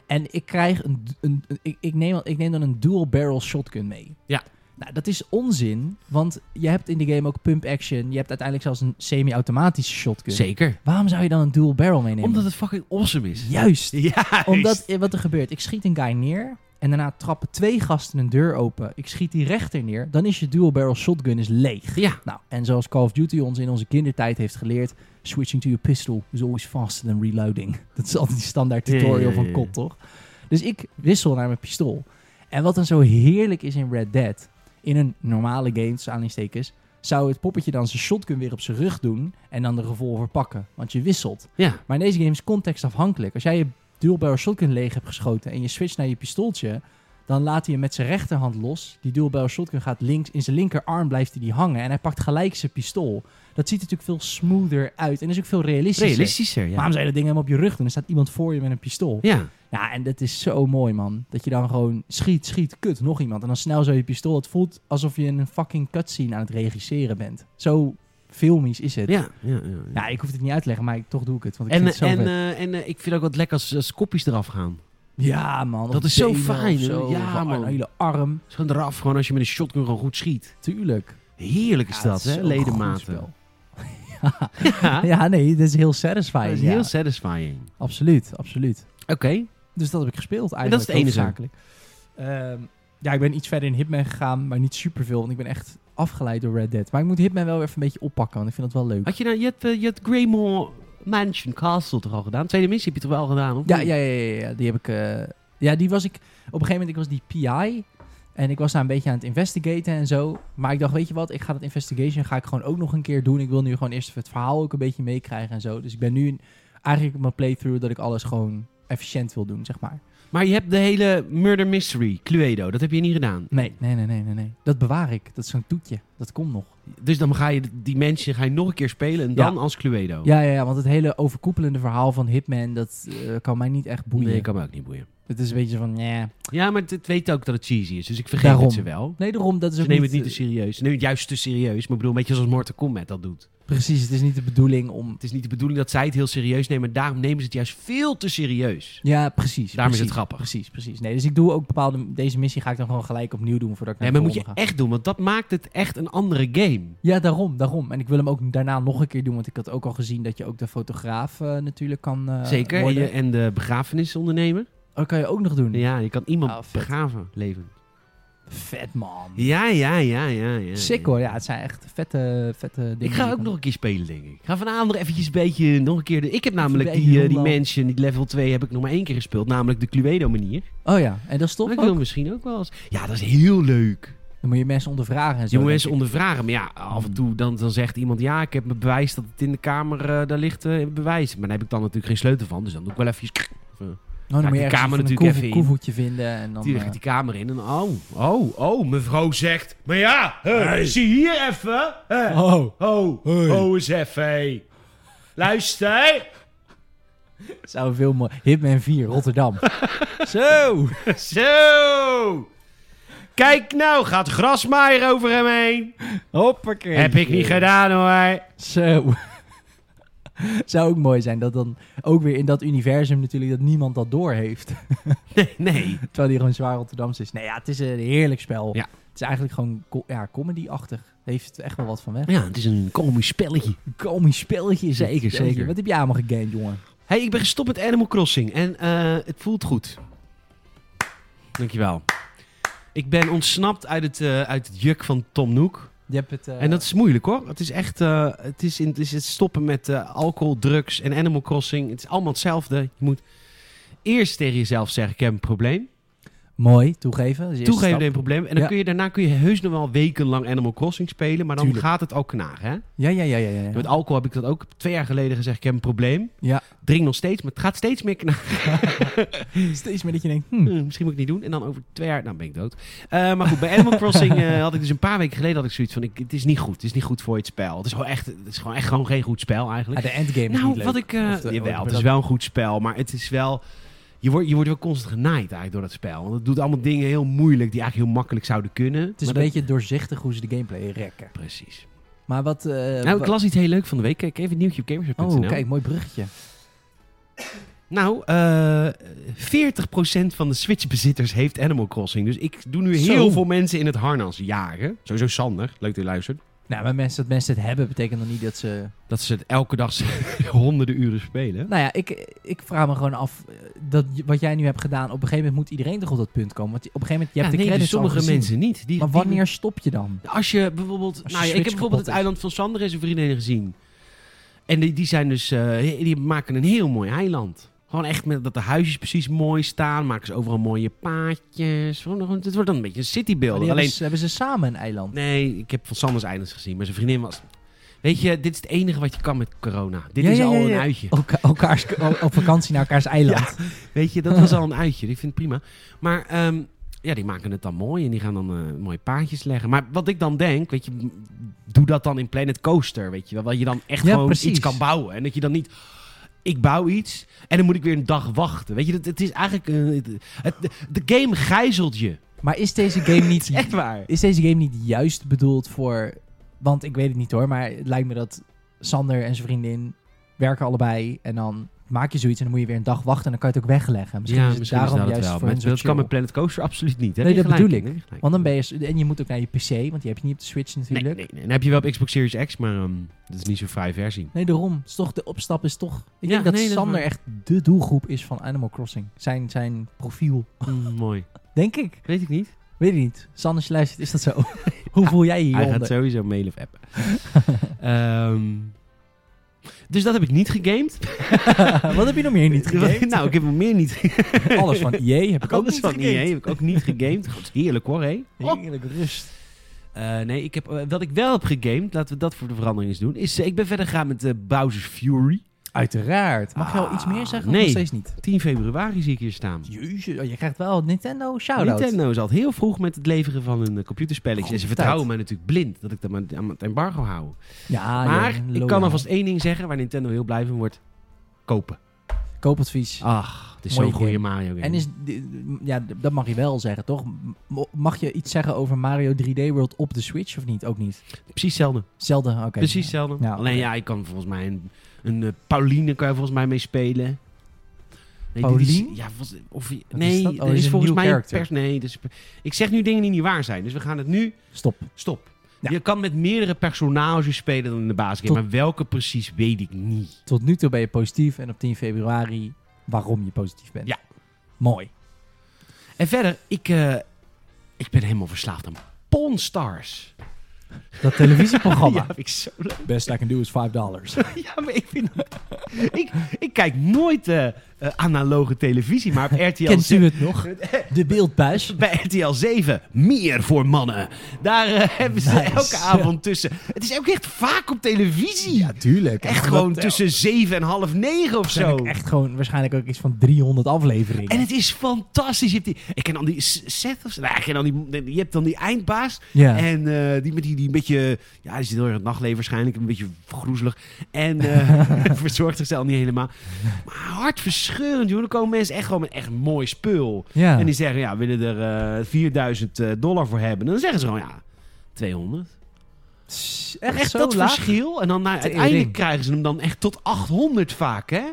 Speaker 2: En ik krijg een... een, een- ik, ik, neem, ik neem dan een dual barrel shotgun mee.
Speaker 1: Ja.
Speaker 2: Nou, dat is onzin. Want je hebt in de game ook pump action. Je hebt uiteindelijk zelfs een semi-automatische shotgun.
Speaker 1: Zeker.
Speaker 2: Waarom zou je dan een dual barrel meenemen?
Speaker 1: Omdat het fucking awesome is.
Speaker 2: Juist.
Speaker 1: Ja,
Speaker 2: Omdat, eh, wat er gebeurt, ik schiet een guy neer en daarna trappen twee gasten een deur open. Ik schiet die rechter neer, dan is je dual barrel shotgun is leeg.
Speaker 1: Ja,
Speaker 2: Nou, en zoals Call of Duty ons in onze kindertijd heeft geleerd, switching to your pistol is always faster than reloading. Dat is altijd die standaard
Speaker 1: Ja, ja, ja,
Speaker 2: tutorial
Speaker 1: ja.
Speaker 2: van COD, toch? Dus ik wissel naar mijn pistool. En wat dan zo heerlijk is in Red Dead, in een normale game, tussen aanhalingstekens, zou het poppetje dan zijn shotgun weer op zijn rug doen en dan de revolver pakken, want je wisselt.
Speaker 1: ja.
Speaker 2: Maar in deze game is context afhankelijk. Als jij je dual barrel shotgun leeg hebt geschoten en je switcht naar je pistooltje, dan laat hij hem met zijn rechterhand los. Die dual barrel shotgun gaat links in zijn linkerarm blijft hij die hangen en hij pakt gelijk zijn pistool. Dat ziet er natuurlijk veel smoother uit en is ook veel realistischer.
Speaker 1: Realistischer, ja.
Speaker 2: Waarom zou je dat ding helemaal op je rug doen? Er staat iemand voor je met een pistool.
Speaker 1: Ja,
Speaker 2: Ja, en dat is zo mooi, man. Dat je dan gewoon schiet, schiet, kut, nog iemand. En dan snel zo je pistool. Het voelt alsof je een fucking cutscene aan het regisseren bent. Zo filmisch is het.
Speaker 1: ja, ja. ja, ja.
Speaker 2: Ja, ik hoef het niet uit te leggen, maar ik, toch doe ik het. Want ik
Speaker 1: En,
Speaker 2: vind het zo
Speaker 1: eh, en,
Speaker 2: vet.
Speaker 1: eh, en eh, ik vind ook wat lekker als, als kopjes eraf gaan.
Speaker 2: Ja, man.
Speaker 1: Dat
Speaker 2: Of
Speaker 1: is zo
Speaker 2: benen of
Speaker 1: fijn, hè?
Speaker 2: zo,
Speaker 1: Ja,
Speaker 2: of een-
Speaker 1: man.
Speaker 2: Een hele arm.
Speaker 1: Dus gewoon eraf, gewoon als je met een shotgun gewoon goed schiet.
Speaker 2: Tuurlijk.
Speaker 1: Heerlijk is
Speaker 2: Ja,
Speaker 1: dat,
Speaker 2: het is
Speaker 1: hè?
Speaker 2: zo'n goed
Speaker 1: Ledematen.
Speaker 2: spel.
Speaker 1: Ja,
Speaker 2: Ja, nee, dat is heel
Speaker 1: dat
Speaker 2: satisfying.
Speaker 1: is
Speaker 2: ja.
Speaker 1: heel satisfying.
Speaker 2: Absoluut, absoluut.
Speaker 1: Oké.
Speaker 2: Dus dat heb ik gespeeld eigenlijk.
Speaker 1: dat is het ene zo.
Speaker 2: hoofdzakelijk. Ehm, ja, ik ben iets verder in Hitman gegaan, maar niet superveel. Want ik ben echt afgeleid door Red Dead. Maar ik moet Hitman wel even een beetje oppakken, want ik vind dat wel leuk.
Speaker 1: Had je nou, je had, eh, je had Greymore Mansion Castle toch al gedaan? Tweede missie heb je toch wel gedaan? Of
Speaker 2: Ja,
Speaker 1: niet?
Speaker 2: ja, ja, ja, ja, die heb ik. eh, ja, die was ik. Op een gegeven moment, ik was die PI. En ik was daar een beetje aan het investigaten en zo. Maar ik dacht, weet je wat, ik ga dat investigation ga ik gewoon ook nog een keer doen. Ik wil nu gewoon eerst even het verhaal ook een beetje meekrijgen en zo. Dus ik ben nu in- eigenlijk op mijn playthrough dat ik alles gewoon efficiënt wil doen, zeg maar.
Speaker 1: Maar je hebt de hele Murder Mystery, Cluedo, dat heb je niet gedaan.
Speaker 2: Nee, nee, nee, nee, nee. nee. Dat bewaar ik. Dat is zo'n toetje. Dat komt nog.
Speaker 1: Dus dan ga je die mensen ga je nog een keer spelen en
Speaker 2: Ja.
Speaker 1: dan als Cluedo.
Speaker 2: Ja, ja, ja, want het hele overkoepelende verhaal van Hitman, dat eh, kan mij niet echt boeien.
Speaker 1: Nee, kan me ook niet boeien.
Speaker 2: Het is een beetje van, nee.
Speaker 1: Ja, maar het, het weet ook dat het cheesy is, dus ik vergeet
Speaker 2: Daarom.
Speaker 1: het ze wel.
Speaker 2: Nee, daarom, dat is
Speaker 1: Ze
Speaker 2: ook
Speaker 1: nemen
Speaker 2: niet... eh,
Speaker 1: het niet te serieus. Ze nemen het juist te serieus. Maar ik bedoel, een beetje zoals Mortal Kombat dat doet.
Speaker 2: Precies, het is niet de bedoeling om...
Speaker 1: Het is niet de bedoeling dat zij het heel serieus nemen. Maar daarom nemen ze het juist veel te serieus.
Speaker 2: Ja, precies.
Speaker 1: Daarom is
Speaker 2: precies,
Speaker 1: het grappig.
Speaker 2: Precies, precies. Nee, dus ik doe ook bepaalde... Deze missie ga ik dan gewoon gelijk opnieuw doen voordat ik naar
Speaker 1: Nee, maar moet
Speaker 2: de
Speaker 1: je
Speaker 2: volgende
Speaker 1: echt doen, want dat maakt het echt een andere game.
Speaker 2: ga. Ja, daarom, daarom. En ik wil hem ook daarna nog een keer doen, want ik had ook al gezien dat je ook de fotograaf eh, natuurlijk kan eh,
Speaker 1: Zeker. En,
Speaker 2: worden.
Speaker 1: je- en de begrafenisondernemer.
Speaker 2: Oh, dat kan je ook nog doen.
Speaker 1: Ja, je kan iemand
Speaker 2: Oh, vet.
Speaker 1: begraven leven.
Speaker 2: Vet, man.
Speaker 1: Ja, ja, ja, ja. ja
Speaker 2: Sick, hoor. Ja, het zijn echt vette, vette dingen.
Speaker 1: Ik
Speaker 2: die je
Speaker 1: ga ook
Speaker 2: kan
Speaker 1: nog een keer spelen, denk ik. Ik ga vanavond nog eventjes een beetje, nog een keer... De... Ik heb namelijk
Speaker 2: beetje
Speaker 1: die, eh, die
Speaker 2: rondlopen.
Speaker 1: mansion, die level 2, heb ik nog maar één keer gespeeld. Namelijk de Cluedo-manier.
Speaker 2: Oh ja, en dat is tof
Speaker 1: Maar ik
Speaker 2: ook?
Speaker 1: wil misschien ook wel eens... Ja, dat is heel leuk.
Speaker 2: Dan moet je mensen ondervragen en zo.
Speaker 1: Je moet
Speaker 2: denk
Speaker 1: mensen
Speaker 2: ik.
Speaker 1: ondervragen. Maar ja, af en
Speaker 2: Mm.
Speaker 1: toe dan, dan zegt iemand... Ja, ik heb mijn bewijs dat het in de kamer eh, daar ligt. eh, bewijs. Maar daar heb ik dan natuurlijk geen sleutel van. Dus dan doe ik wel even...
Speaker 2: Oh,
Speaker 1: Ga
Speaker 2: dan moet
Speaker 1: ik
Speaker 2: je
Speaker 1: de
Speaker 2: ergens
Speaker 1: kamer
Speaker 2: even een
Speaker 1: natuurlijk
Speaker 2: koevo-
Speaker 1: even in.
Speaker 2: koevoetje vinden. En dan,
Speaker 1: Die gaat
Speaker 2: eh,
Speaker 1: die kamer in en... Oh, oh, oh, mevrouw zegt... Maar ja, eh, zie hier even. eh,
Speaker 2: Oh,
Speaker 1: oh,
Speaker 2: Hoi.
Speaker 1: oh, eens even. hé. Luister.
Speaker 2: zou veel mooi. Hitman 4, Rotterdam. Zo!
Speaker 1: Zo. Kijk nou, gaat grasmaaier over hem heen.
Speaker 2: Hoppakee.
Speaker 1: Heb ik niet gedaan hoor.
Speaker 2: Zo. Zou ook mooi zijn dat dan ook weer in dat universum natuurlijk dat niemand dat door heeft.
Speaker 1: Nee, nee.
Speaker 2: Terwijl die gewoon zwaar Rotterdams is. Nee, ja, het is een heerlijk spel.
Speaker 1: Ja.
Speaker 2: Het is eigenlijk gewoon co- ja, comedy-achtig. Heeft echt wel wat van weg.
Speaker 1: Ja, het is een komisch spelletje.
Speaker 2: Een komisch spelletje is het.
Speaker 1: Zeker, zeker.
Speaker 2: Wat heb jij allemaal gegamed, jongen?
Speaker 1: hey, ik ben gestopt met Animal Crossing en eh, het voelt goed. Dankjewel. Ik ben ontsnapt uit het, eh, uit het juk van Tom Nook.
Speaker 2: Je hebt het... eh,
Speaker 1: En dat is moeilijk hoor. Het is echt eh, het, is in, het is het stoppen met eh, alcohol, drugs en Animal Crossing. Het is allemaal hetzelfde. Je moet eerst tegen jezelf zeggen: Ik heb een probleem.
Speaker 2: Mooi, toegeven. Dat is de eerste
Speaker 1: Toegeven
Speaker 2: stap.
Speaker 1: dat je een probleem. En dan
Speaker 2: Ja.
Speaker 1: kun je, daarna kun je heus nog wel wekenlang Animal Crossing spelen. Maar dan
Speaker 2: Tuurlijk.
Speaker 1: gaat het ook knagen. Hè?
Speaker 2: Ja, ja, ja, ja. ja.
Speaker 1: Met alcohol heb ik dat ook twee jaar geleden gezegd: Ik heb een probleem.
Speaker 2: Ja.
Speaker 1: Drink nog steeds, maar het gaat steeds meer knagen.
Speaker 2: Steeds meer dat je denkt, hm,
Speaker 1: Eh, misschien moet ik het niet doen. En dan over twee jaar, nou ben ik dood. Eh, maar goed, bij Animal Crossing eh, had ik dus een paar weken geleden had ik zoiets van: ik, Het is niet goed. Het is niet goed voor je het spel. Het is gewoon echt, het is gewoon, echt gewoon geen goed spel eigenlijk.
Speaker 2: ah, de endgame is niet
Speaker 1: Nou,
Speaker 2: leuk.
Speaker 1: wat ik. eh,
Speaker 2: Of de-
Speaker 1: jawel,
Speaker 2: of de-
Speaker 1: het is wel een goed spel, maar het is wel. Je wordt, je wordt wel constant genaaid eigenlijk door dat spel. Want het doet allemaal dingen heel moeilijk die eigenlijk heel makkelijk zouden kunnen.
Speaker 2: Het is een beetje doorzichtig hoe ze de gameplay rekken.
Speaker 1: Precies.
Speaker 2: Maar wat... eh,
Speaker 1: nou, ik
Speaker 2: wat-
Speaker 1: las iets heel leuk van de week. Kijk even het nieuwtje op gamers.nl.
Speaker 2: Oh, kijk, mooi bruggetje.
Speaker 1: Nou, eh 40% van de Switch-bezitters heeft Animal Crossing. Dus ik doe nu
Speaker 2: Zo.
Speaker 1: heel veel mensen in het harnas jagen. Sowieso Sander, leuk dat je luistert.
Speaker 2: Nou, maar mensen, dat mensen het hebben, betekent nog niet dat ze...
Speaker 1: Dat ze het elke dag honderden uren spelen.
Speaker 2: Nou ja, ik, ik vraag me gewoon af, eh, dat, j- wat jij nu hebt gedaan, op een gegeven moment moet iedereen toch op dat punt komen? Want op een gegeven moment, je hebt
Speaker 1: Ja,
Speaker 2: de
Speaker 1: nee, dus
Speaker 2: credits al
Speaker 1: sommige
Speaker 2: gezien.
Speaker 1: mensen niet. Die,
Speaker 2: Maar
Speaker 1: die-
Speaker 2: wanneer stop je dan?
Speaker 1: Als je bijvoorbeeld.
Speaker 2: Als
Speaker 1: nou
Speaker 2: je
Speaker 1: ja, ik
Speaker 2: Switch
Speaker 1: heb bijvoorbeeld
Speaker 2: kapot
Speaker 1: het
Speaker 2: is.
Speaker 1: eiland van Sander en zijn vriendinnen gezien. En die, die zijn dus. eh, die maken een heel mooi eiland. Gewoon echt met dat de huisjes precies mooi staan. Maken ze overal mooie paadjes. Gewoon- gewoon- Het wordt dan een beetje een
Speaker 2: Maar
Speaker 1: citybeeld.
Speaker 2: die hebben,
Speaker 1: Alleen.
Speaker 2: ze, hebben ze samen een eiland?
Speaker 1: Nee, ik heb van Sanders eiland gezien. Maar zijn vriendin was. Weet je, dit is het enige wat je kan met corona. Dit
Speaker 2: Ja,
Speaker 1: is
Speaker 2: ja,
Speaker 1: al
Speaker 2: ja,
Speaker 1: een
Speaker 2: ja.
Speaker 1: uitje.
Speaker 2: Elka- elkaars, o- op vakantie naar elkaars eiland.
Speaker 1: Weet je, dat was al een uitje. Ik vind het prima. Maar ehm, ja, die maken het dan mooi en die gaan dan eh, mooie paadjes leggen. Maar wat ik dan denk, weet je, m- doe dat dan in Planet Coaster, weet je wel. Dat je dan echt
Speaker 2: Ja,
Speaker 1: gewoon
Speaker 2: precies.
Speaker 1: iets kan bouwen. En dat je dan niet, ik bouw iets en dan moet ik weer een dag wachten. Weet je, dat, het is eigenlijk, eh, het, het- de game gijzelt je.
Speaker 2: Maar is deze game niet
Speaker 1: Echt waar.
Speaker 2: Is deze game niet juist bedoeld voor. Want ik weet het niet hoor, maar het lijkt me dat Sander en zijn vriendin werken allebei. En dan maak je zoiets en dan moet je weer een dag wachten en dan kan je het ook wegleggen. Misschien is het daarom juist voor
Speaker 1: Maar
Speaker 2: hun zo
Speaker 1: dat kan
Speaker 2: chill.
Speaker 1: met Planet Coaster absoluut niet. Heb
Speaker 2: Nee,
Speaker 1: je
Speaker 2: dat
Speaker 1: gelijk in,
Speaker 2: bedoel ik.
Speaker 1: heb je gelijk
Speaker 2: Want dan
Speaker 1: in.
Speaker 2: ben je. En je moet ook naar je PC, want die heb je niet op de Switch
Speaker 1: Nee,
Speaker 2: natuurlijk.
Speaker 1: nee,
Speaker 2: Nee,
Speaker 1: nee. Dan heb je wel op Xbox Series X, maar ehm, dat is niet zo'n vrij versie.
Speaker 2: daarom. Het is toch, de opstap is toch. Ik
Speaker 1: Ja,
Speaker 2: denk dat
Speaker 1: nee, dat is
Speaker 2: Sander
Speaker 1: waar.
Speaker 2: echt de doelgroep is van Animal Crossing. Zijn, zijn profiel.
Speaker 1: Mm, mooi.
Speaker 2: Denk ik.
Speaker 1: Weet ik niet.
Speaker 2: Weet ik niet. Sander, als je luistert, is dat zo? Hoe voel jij je
Speaker 1: Hij gaat
Speaker 2: hieronder?
Speaker 1: sowieso mailen of appen. Ehm, dus dat heb ik niet gegamed.
Speaker 2: Wat heb je nog meer niet gegeven?
Speaker 1: nou, ik heb hem meer niet.
Speaker 2: Alles van EA heb ik ook
Speaker 1: Alles
Speaker 2: niet
Speaker 1: van
Speaker 2: gegamed.
Speaker 1: EA heb ik ook niet gegamed. God, heerlijk hoor, hé. Oh.
Speaker 2: Heerlijk rust.
Speaker 1: Eh, nee, ik heb, eh, wat ik wel heb gegamed, laten we dat voor de verandering eens doen, is eh, ik ben verder gegaan met eh, Bowser's Fury.
Speaker 2: Uiteraard. Mag je al
Speaker 1: Ah,
Speaker 2: iets meer zeggen?
Speaker 1: nee.
Speaker 2: Of nog steeds niet?
Speaker 1: 10 februari zie ik hier staan.
Speaker 2: Jezus, oh, je krijgt wel een Nintendo shout-out.
Speaker 1: Nintendo zat heel vroeg met het leveren van een eh, computerspelletje. En ze
Speaker 2: Nou, Goed op
Speaker 1: vertrouwen
Speaker 2: tijd. Ah,
Speaker 1: mij natuurlijk blind dat ik dat aan- aan het embargo hou.
Speaker 2: Ja,
Speaker 1: maar
Speaker 2: ja,
Speaker 1: ik
Speaker 2: loyaal.
Speaker 1: kan alvast één ding zeggen waar Nintendo heel blij van wordt. Kopen.
Speaker 2: Koopadvies.
Speaker 1: Ach, Het is
Speaker 2: Mooie
Speaker 1: zo'n goede
Speaker 2: game.
Speaker 1: Mario game.
Speaker 2: En is, di- ja, d- dat mag je wel zeggen, toch? M- Mag je iets zeggen over Mario 3D World op de Switch of niet? Ook niet.
Speaker 1: Precies hetzelfde.
Speaker 2: Zelden, oké.
Speaker 1: Precies hetzelfde.
Speaker 2: Ja,
Speaker 1: Alleen
Speaker 2: oké.
Speaker 1: ja, je kan volgens mij een, een eh, Pauline kan je volgens mij mee spelen. Nee, dit is-
Speaker 2: Pauline?
Speaker 1: ja, volgens- of, je-
Speaker 2: Wat
Speaker 1: nee,
Speaker 2: is dat?
Speaker 1: dat
Speaker 2: Oh,
Speaker 1: is,
Speaker 2: is een
Speaker 1: volgens
Speaker 2: nieuw
Speaker 1: mij een
Speaker 2: character.
Speaker 1: pers. Nee, dus, ik zeg nu dingen die niet waar zijn. Dus we gaan het nu
Speaker 2: Stop.
Speaker 1: stop.
Speaker 2: Ja.
Speaker 1: Je kan met meerdere personages spelen dan in de basisgame.
Speaker 2: Tot-
Speaker 1: Maar welke precies weet ik niet.
Speaker 2: Tot nu toe ben je positief en op 10 februari waarom je positief bent.
Speaker 1: Ja.
Speaker 2: Mooi.
Speaker 1: En verder, ik, eh, ik ben helemaal verslaafd aan Pawn Stars.
Speaker 2: Dat televisieprogramma.
Speaker 1: Ja, vind ik zo leuk.
Speaker 2: Best I can do is 5 dollars.
Speaker 1: Ja, maar ik vind... ik, ik kijk nooit eh, eh, analoge televisie, maar op RTL
Speaker 2: Kent u het nog? De beeldbuis.
Speaker 1: Bij RTL 7, meer voor mannen. Daar eh, hebben ze
Speaker 2: Nice.
Speaker 1: elke avond tussen. Het is ook echt vaak op televisie.
Speaker 2: tuurlijk.
Speaker 1: echt gewoon tussen 7 en half 9 of
Speaker 2: Zo.
Speaker 1: zo.
Speaker 2: Echt gewoon waarschijnlijk ook iets van 300 afleveringen.
Speaker 1: En het is fantastisch. Je hebt die, ik ken dan die S- Seth of zo. Nou, ik ken dan die, je hebt dan die eindbaas.
Speaker 2: ja.
Speaker 1: En eh, die met die, die een beetje... Ja, die zit heel erg in het nachtleven waarschijnlijk. Een beetje groezelig. En eh, verzorgt zichzelf niet helemaal. Maar hartverscheurend, joh. Dan komen mensen echt gewoon met echt mooi spul.
Speaker 2: ja.
Speaker 1: En die zeggen, ja, we willen er eh, 4000 dollar voor hebben. En dan zeggen ze gewoon, ja, 200.
Speaker 2: Tss,
Speaker 1: Echt,
Speaker 2: echt, zo
Speaker 1: dat
Speaker 2: laag.
Speaker 1: verschil. En dan nou,
Speaker 2: Tering.
Speaker 1: uiteindelijk krijgen ze hem dan echt tot 800 vaak, hè?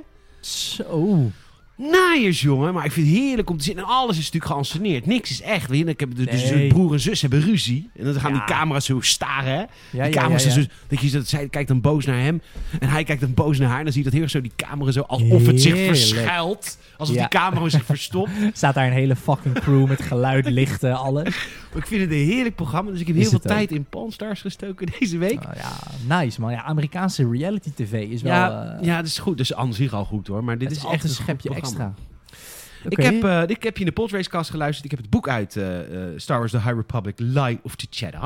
Speaker 2: Zo.
Speaker 1: Naaiers, jongen. Maar ik vind het heerlijk om te zien. En alles is natuurlijk geanceneerd. Niks is echt. Weet je, ik heb de, dus
Speaker 2: Nee.
Speaker 1: de broer en zus hebben ruzie. En dan gaan
Speaker 2: Ja.
Speaker 1: die camera's zo staren, hè?
Speaker 2: Ja,
Speaker 1: die camera's zijn zo... Dat je, dat, zij kijkt dan boos naar hem. En hij kijkt dan boos naar haar. En dan zie je dat heel erg zo die camera zo... Alsof het zich
Speaker 2: Heerlijk.
Speaker 1: verschuilt. Alsof
Speaker 2: Ja.
Speaker 1: die camera zich verstopt.
Speaker 2: Staat daar een hele fucking crew met geluid, lichten, alles.
Speaker 1: Maar ik vind het een heerlijk programma, dus ik heb
Speaker 2: Is
Speaker 1: heel veel
Speaker 2: het ook.
Speaker 1: tijd in Pawn Stars gestoken deze week.
Speaker 2: Nou ja, nice man. Ja, Amerikaanse reality tv is wel...
Speaker 1: ja,
Speaker 2: eh,
Speaker 1: ja, dat is goed. Dat is aan zich al goed hoor, maar dit
Speaker 2: het
Speaker 1: is
Speaker 2: altijd
Speaker 1: echt een
Speaker 2: een schepje
Speaker 1: goed programma.
Speaker 2: extra.
Speaker 1: Ik, heb, eh, ik heb je in de Podracecast geluisterd. Ik heb het boek uit eh, eh, Star Wars The High Republic, Lie of the Jedi.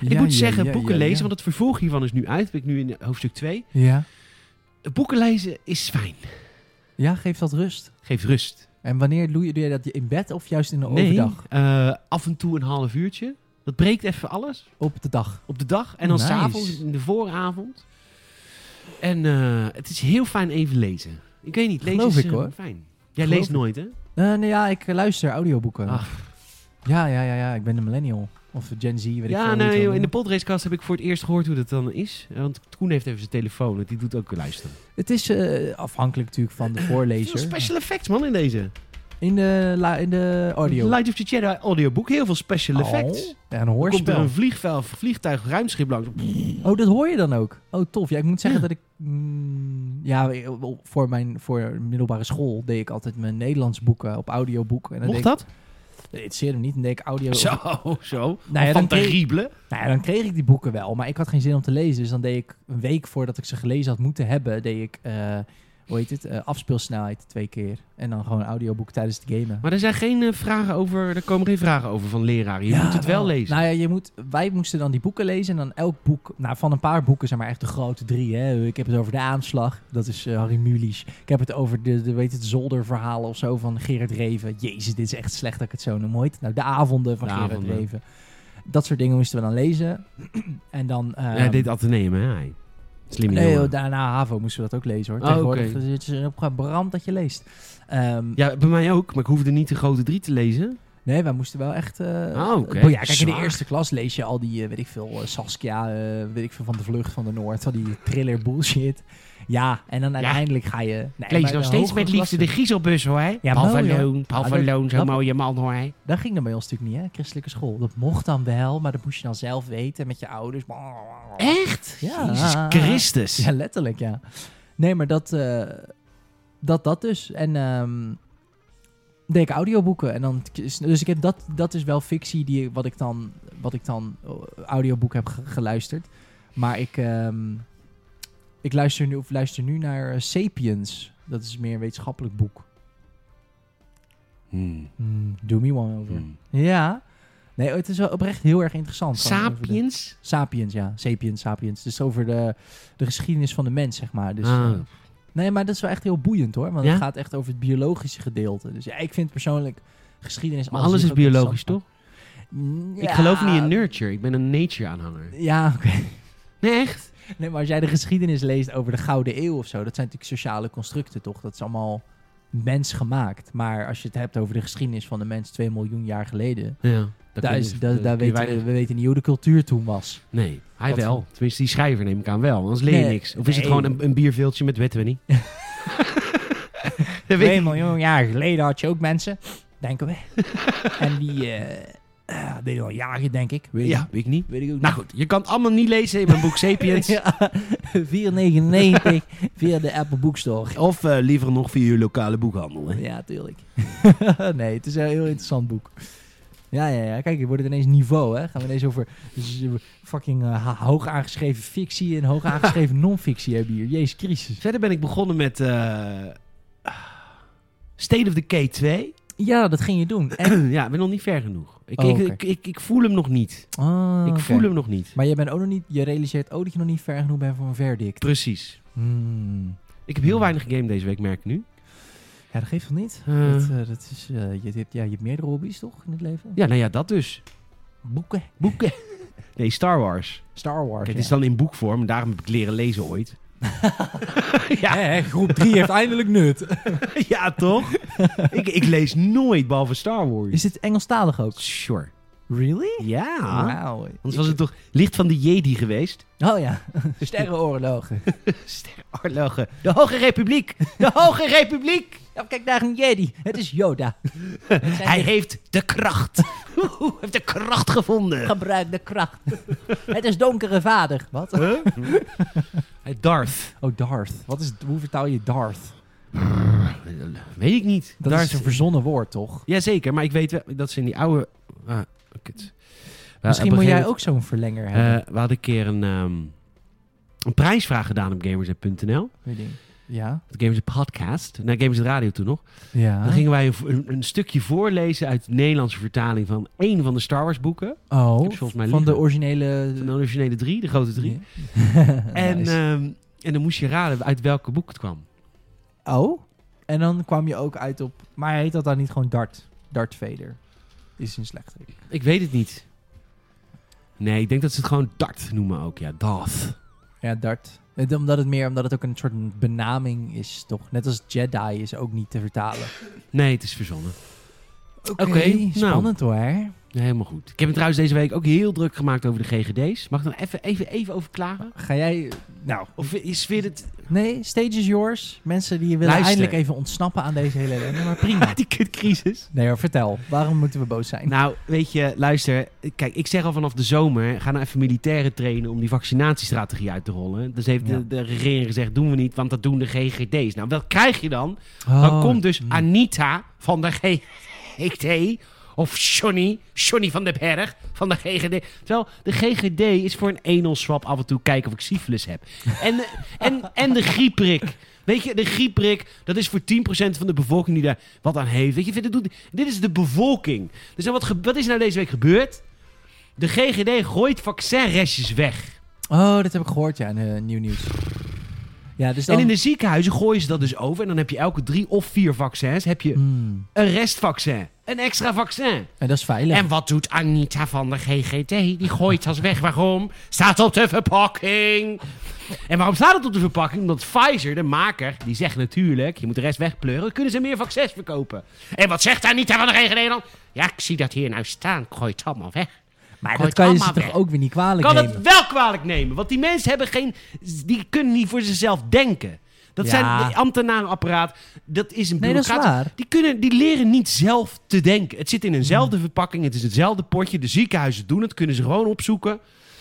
Speaker 1: En ik moet zeggen, boeken lezen, want het vervolg hiervan is nu uit. Ben ik nu in hoofdstuk 2.
Speaker 2: Ja.
Speaker 1: Boeken lezen is fijn.
Speaker 2: ja, geeft dat rust.
Speaker 1: Geeft rust.
Speaker 2: En wanneer doe je, doe je dat in bed of juist in de
Speaker 1: Nee,
Speaker 2: overdag?
Speaker 1: eh, af en toe een half uurtje. Dat breekt even alles.
Speaker 2: Op de dag.
Speaker 1: op de dag en dan
Speaker 2: Nice.
Speaker 1: s'avonds in de vooravond. En eh, het is heel fijn even lezen. Ik weet niet, lezen
Speaker 2: Geloof
Speaker 1: is
Speaker 2: ik,
Speaker 1: eh,
Speaker 2: hoor.
Speaker 1: fijn. Jij
Speaker 2: Geloof
Speaker 1: leest
Speaker 2: ik.
Speaker 1: nooit, hè?
Speaker 2: Eh, nee, ja, ik eh, luister audioboeken.
Speaker 1: Ach.
Speaker 2: Ja, ja, ja, ja. Ik ben de millennial. Of de Gen Z, weet ik
Speaker 1: ja,
Speaker 2: veel hoe je het
Speaker 1: nee,
Speaker 2: wil
Speaker 1: joh, in de
Speaker 2: noemen.
Speaker 1: podracecast heb ik voor het eerst gehoord hoe dat dan is. Eh, Want Koen heeft even zijn telefoon, want die doet ook luisteren.
Speaker 2: Het is eh, afhankelijk natuurlijk van de
Speaker 1: Veel
Speaker 2: voorlezer.
Speaker 1: special effects, man, in deze.
Speaker 2: In de, la- in de audio.
Speaker 1: Light of the Jedi audioboek, heel veel special effects.
Speaker 2: Oh, ja,
Speaker 1: Er
Speaker 2: een
Speaker 1: komt er een
Speaker 2: hoorspel.
Speaker 1: vliegveld, vliegtuig, ruimschip langs.
Speaker 2: Oh, dat hoor je dan ook. Oh, tof. Ja, ik moet zeggen dat ik... mm, ja, voor mijn voor middelbare school deed ik altijd mijn Nederlands boeken op audioboek. En dan
Speaker 1: Mocht
Speaker 2: deed
Speaker 1: dat?
Speaker 2: Ik, nee, het zeerde me niet. Dan deed ik audio...
Speaker 1: Zo, zo.
Speaker 2: Nou ja,
Speaker 1: van
Speaker 2: dan kreeg-
Speaker 1: terrible.
Speaker 2: Nou ja, dan kreeg ik die boeken wel, maar ik had geen zin om te lezen. Dus dan deed ik een week voordat ik ze gelezen had moeten hebben, deed ik, eh, hoe heet het, Eh, afspeelsnelheid twee keer. En dan gewoon een audioboek tijdens het gamen.
Speaker 1: Maar er zijn geen eh, vragen over, er komen geen vragen over van leraren. Je
Speaker 2: Ja,
Speaker 1: moet het wel lezen.
Speaker 2: Nou ja, je moet, wij moesten dan die boeken lezen en dan elk boek, nou van een paar boeken zijn maar echt de grote drie. Hè. Ik heb het over de aanslag, dat is eh, Harry Mulisch. Ik heb het over de, de weet het, zolderverhalen of zo van Gerard Reven. Jezus, dit is echt slecht dat ik het zo noem. Hoe heet het nou? De avonden van
Speaker 1: De
Speaker 2: Gerard
Speaker 1: avonden.
Speaker 2: Reven. Dat soort dingen moesten we dan lezen. en dan...
Speaker 1: Ja,
Speaker 2: ehm,
Speaker 1: dit ateneum, hè? hij. Slimme
Speaker 2: Nee,
Speaker 1: jongen.
Speaker 2: joh, daarna HAVO moesten we dat ook lezen hoor.
Speaker 1: Oh,
Speaker 2: Tegenwoordig
Speaker 1: oké.
Speaker 2: is het een brand dat je leest. Ehm,
Speaker 1: Ja, bij mij ook, maar ik hoefde niet de grote drie te lezen.
Speaker 2: Nee, wij moesten wel echt... eh,
Speaker 1: Ah, oké.
Speaker 2: oh ja, kijk, in de
Speaker 1: Zwaar.
Speaker 2: eerste klas lees je al die, eh, weet ik veel, eh, Saskia, eh, weet ik veel, van de vlucht van de Noord. Al die thriller bullshit. Ja, en dan uiteindelijk ga je... Nee,
Speaker 1: Ik lees
Speaker 2: maar
Speaker 1: nog
Speaker 2: de
Speaker 1: steeds
Speaker 2: hogere
Speaker 1: met liefde
Speaker 2: klassen-
Speaker 1: de Giezelbus, hoor. hè?
Speaker 2: Ja,
Speaker 1: Paul
Speaker 2: mooi,
Speaker 1: van
Speaker 2: hè?
Speaker 1: Loon, Paul
Speaker 2: Ja,
Speaker 1: van
Speaker 2: dat-
Speaker 1: Loon,
Speaker 2: dat-
Speaker 1: zo'n mooie man, hoor. hè?
Speaker 2: Dat ging dan bij ons natuurlijk niet, hè? Christelijke school. Dat mocht dan wel, maar dat moest je dan zelf weten met je ouders.
Speaker 1: Echt?
Speaker 2: Ja.
Speaker 1: Jezus Christus.
Speaker 2: Ja, letterlijk, ja. Nee, maar dat, eh, dat, dat dus. En ehm deed ik audioboeken. En dan, dus ik heb dat, dat is wel fictie die, wat ik dan, wat ik dan eh, audioboek heb ge- geluisterd. Maar ik, ehm, ik luister, nu, of luister nu naar eh, Sapiens. Dat is meer een wetenschappelijk boek.
Speaker 1: Hmm,
Speaker 2: Hmm, do me one over.
Speaker 1: hmm.
Speaker 2: Ja. Nee, het is wel oprecht heel erg interessant. Gewoon over de-
Speaker 1: Sapiens?
Speaker 2: Sapiens, ja. Sapiens, Sapiens. Dus over de, de geschiedenis van de mens, zeg maar. Dus,
Speaker 1: Ah.
Speaker 2: eh, nee, maar dat is wel echt heel boeiend hoor. Want
Speaker 1: Ja?
Speaker 2: het gaat echt over het biologische gedeelte. Dus ja, ik vind persoonlijk geschiedenis...
Speaker 1: Maar
Speaker 2: als
Speaker 1: alles
Speaker 2: zich
Speaker 1: is
Speaker 2: ook
Speaker 1: biologisch, toch?
Speaker 2: interessant. Mm,
Speaker 1: Ik
Speaker 2: ja.
Speaker 1: geloof niet in nurture. Ik ben een nature-aanhanger.
Speaker 2: Ja, oké.
Speaker 1: Nee, echt?
Speaker 2: Nee, maar als jij de geschiedenis leest over de Gouden Eeuw of zo... Dat zijn natuurlijk sociale constructen, toch? Dat is allemaal mens gemaakt. Maar als je het hebt over de geschiedenis van de mens 2 miljoen jaar geleden.
Speaker 1: Ja, dat
Speaker 2: Daar
Speaker 1: kun
Speaker 2: is,
Speaker 1: je-
Speaker 2: daar,
Speaker 1: dat
Speaker 2: daar
Speaker 1: kun je
Speaker 2: weten we,
Speaker 1: weinig-
Speaker 2: we weten niet hoe de cultuur toen was.
Speaker 1: Nee, hij
Speaker 2: Wat-
Speaker 1: wel. Tenminste, die schrijver neem ik aan wel. Anders leer je
Speaker 2: Nee,
Speaker 1: niks. Of is het
Speaker 2: nee.
Speaker 1: gewoon een, een bierveeltje met weten we niet? Dat weet ik
Speaker 2: 2
Speaker 1: niet.
Speaker 2: miljoen jaar geleden had je ook mensen, denken we. en die eh eh, deden al jaren, denk ik. Weet
Speaker 1: Ja, weet ik niet.
Speaker 2: ik- weet ik ook
Speaker 1: Nou goed, je kan het allemaal niet lezen in mijn boek Sapiens.
Speaker 2: Ja, 4,99 via de Apple Bookstore.
Speaker 1: Of eh, liever nog via je lokale boekhandel. Hè?
Speaker 2: Ja, tuurlijk. nee, het is een heel interessant boek. Ja, ja, ja. Kijk, hier wordt het ineens niveau, hè. Gaan we ineens over z- fucking eh, ha- hoog aangeschreven fictie en hoog aangeschreven non-fictie hebben hier. Jezus Christus.
Speaker 1: Verder ben ik begonnen met eh, State of the K2.
Speaker 2: Ja, dat ging je doen. En,
Speaker 1: ja, ik ben nog niet ver genoeg. Ik,
Speaker 2: Oh,
Speaker 1: ik,
Speaker 2: oké.
Speaker 1: ik, ik, ik voel hem nog niet.
Speaker 2: Ah,
Speaker 1: Ik
Speaker 2: oké.
Speaker 1: voel hem nog niet.
Speaker 2: Maar je, bent ook nog niet, je realiseert ook dat je nog niet ver genoeg bent voor een verdict.
Speaker 1: Precies.
Speaker 2: Hmm.
Speaker 1: Ik heb heel weinig game deze week, merk ik nu.
Speaker 2: Ja, dat geeft toch niet?
Speaker 1: Eh.
Speaker 2: dat, eh, dat is, eh, je, je hebt, ja, je hebt meerdere hobby's, toch, in het leven?
Speaker 1: Ja, nou ja, dat dus.
Speaker 2: Boeken.
Speaker 1: Boeken. Nee, Star Wars.
Speaker 2: Star Wars.
Speaker 1: Kijk, het
Speaker 2: ja.
Speaker 1: is dan in boekvorm. Daarom heb ik leren lezen ooit. ja,
Speaker 2: Hè, groep 3 heeft eindelijk nut.
Speaker 1: ja, toch? ik, ik lees nooit, behalve Star Wars.
Speaker 2: Is het Engelstalig ook?
Speaker 1: Sure.
Speaker 2: Really?
Speaker 1: Ja.
Speaker 2: Wauw.
Speaker 1: Ah. Anders was het toch Licht van de Jedi geweest?
Speaker 2: Oh ja, sterrenoorlogen.
Speaker 1: Sterrenorlogen. De Hoge Republiek. De Hoge Republiek.
Speaker 2: Ja, kijk daar een Jedi. Het is Yoda.
Speaker 1: Hij heeft de kracht. Hij heeft de kracht gevonden.
Speaker 2: Gebruik de kracht. Het is donkere vader. Wat?
Speaker 1: Huh? Hij Darth.
Speaker 2: Oh, Darth. Wat is, hoe vertaal je Darth?
Speaker 1: Weet ik niet.
Speaker 2: Dat is een verzonnen woord, toch?
Speaker 1: Jazeker, maar ik weet wel dat ze in die oude... Ah, kut. We-
Speaker 2: Misschien
Speaker 1: op een
Speaker 2: moet jij
Speaker 1: gegeven
Speaker 2: ook zo'n verlenger hebben.
Speaker 1: moment, eh, we hadden een keer een, ehm, een prijsvraag gedaan op gamers.nl.
Speaker 2: Weet ik. Ja?
Speaker 1: De Gamers Podcast. Naar Gamers Radio toen nog.
Speaker 2: Ja.
Speaker 1: Dan gingen wij een, een- een stukje voorlezen uit de Nederlandse vertaling van één van de Star Wars boeken.
Speaker 2: oh,
Speaker 1: Ik heb volgens mij
Speaker 2: van de
Speaker 1: liggen.
Speaker 2: originele...
Speaker 1: De originele drie, de grote drie. En,
Speaker 2: Nice.
Speaker 1: ehm, en dan moest je raden uit welke boek het kwam.
Speaker 2: Oh? En dan kwam je ook uit op... Maar heet dat dan niet gewoon Dart? Dart Vader. Is een slechte.
Speaker 1: Ik weet het niet. Nee, ik denk dat ze het gewoon Dart noemen ook. Ja, Darth.
Speaker 2: Ja, Dart. Het- Omdat het meer, omdat het ook een soort benaming is, toch? Net als Jedi is ook niet te vertalen.
Speaker 1: Nee, het is verzonnen.
Speaker 2: Oké,
Speaker 1: nou.
Speaker 2: spannend hoor.
Speaker 1: Helemaal goed. Ik heb me trouwens deze week ook heel druk gemaakt over de GGD's. Mag ik dan even, even, even over klagen?
Speaker 2: Ga jij... Nou,
Speaker 1: Of is weer het...
Speaker 2: nee, stage is yours. Mensen die willen
Speaker 1: Luister.
Speaker 2: eindelijk even ontsnappen aan deze hele ellende, maar prima.
Speaker 1: die kutcrisis?
Speaker 2: Nee hoor, vertel. Waarom moeten we boos zijn?
Speaker 1: Nou, weet je, luister. Kijk, ik zeg al vanaf de zomer, ga nou even militairen trainen om die vaccinatiestrategie uit te rollen. Dus heeft
Speaker 2: Ja.
Speaker 1: de, de regering gezegd, doen we niet, want dat doen de GGD's. Nou, wat krijg je dan?
Speaker 2: Oh.
Speaker 1: Dan komt dus Anita van de GGD. Of Johnny, Johnny van den Berg van de GGD. Terwijl de GGD is voor een enelswap af en toe kijken of ik syfilis heb. En, en, en de grieprik. Weet je, de grieprik, dat is voor 10% van de bevolking die daar wat aan heeft. Weet je, dit, doet, dit is de bevolking. Dus dan wat, ge- wat is nou deze week gebeurd? De GGD gooit vaccinrestjes weg.
Speaker 2: Oh, dat heb ik gehoord, ja, in eh, Nieuw Nieuws. Ja, dus dan...
Speaker 1: En in de ziekenhuizen gooien ze dat dus over. En dan heb je elke drie of vier vaccins heb je
Speaker 2: Hmm.
Speaker 1: een restvaccin. Een extra vaccin.
Speaker 2: En dat is veilig.
Speaker 1: En wat doet Anita van de GGD? Die gooit dat weg. Waarom? Staat op de verpakking. En waarom staat het op de verpakking? Omdat Pfizer, de maker, die zegt natuurlijk... je moet de rest wegpleuren, kunnen ze meer vaccins verkopen. En wat zegt Anita van de GGD dan? Ja, ik zie dat hier nou staan. Ik gooi het allemaal weg.
Speaker 2: maar
Speaker 1: Gooi het
Speaker 2: dat kan je ze
Speaker 1: allemaal
Speaker 2: toch
Speaker 1: weg.
Speaker 2: ook weer niet kwalijk
Speaker 1: Kan
Speaker 2: nemen?
Speaker 1: het wel kwalijk nemen. Want die mensen hebben geen... Die kunnen niet voor zichzelf denken. Dat
Speaker 2: Ja.
Speaker 1: zijn de ambtenarenapparaat. Dat is een
Speaker 2: Nee, dat is
Speaker 1: bureaucratie.
Speaker 2: waar.
Speaker 1: Die, kunnen, die leren niet zelf te denken. Het zit in eenzelfde
Speaker 2: Hmm.
Speaker 1: verpakking. Het is hetzelfde potje. De ziekenhuizen doen het. Kunnen ze gewoon opzoeken.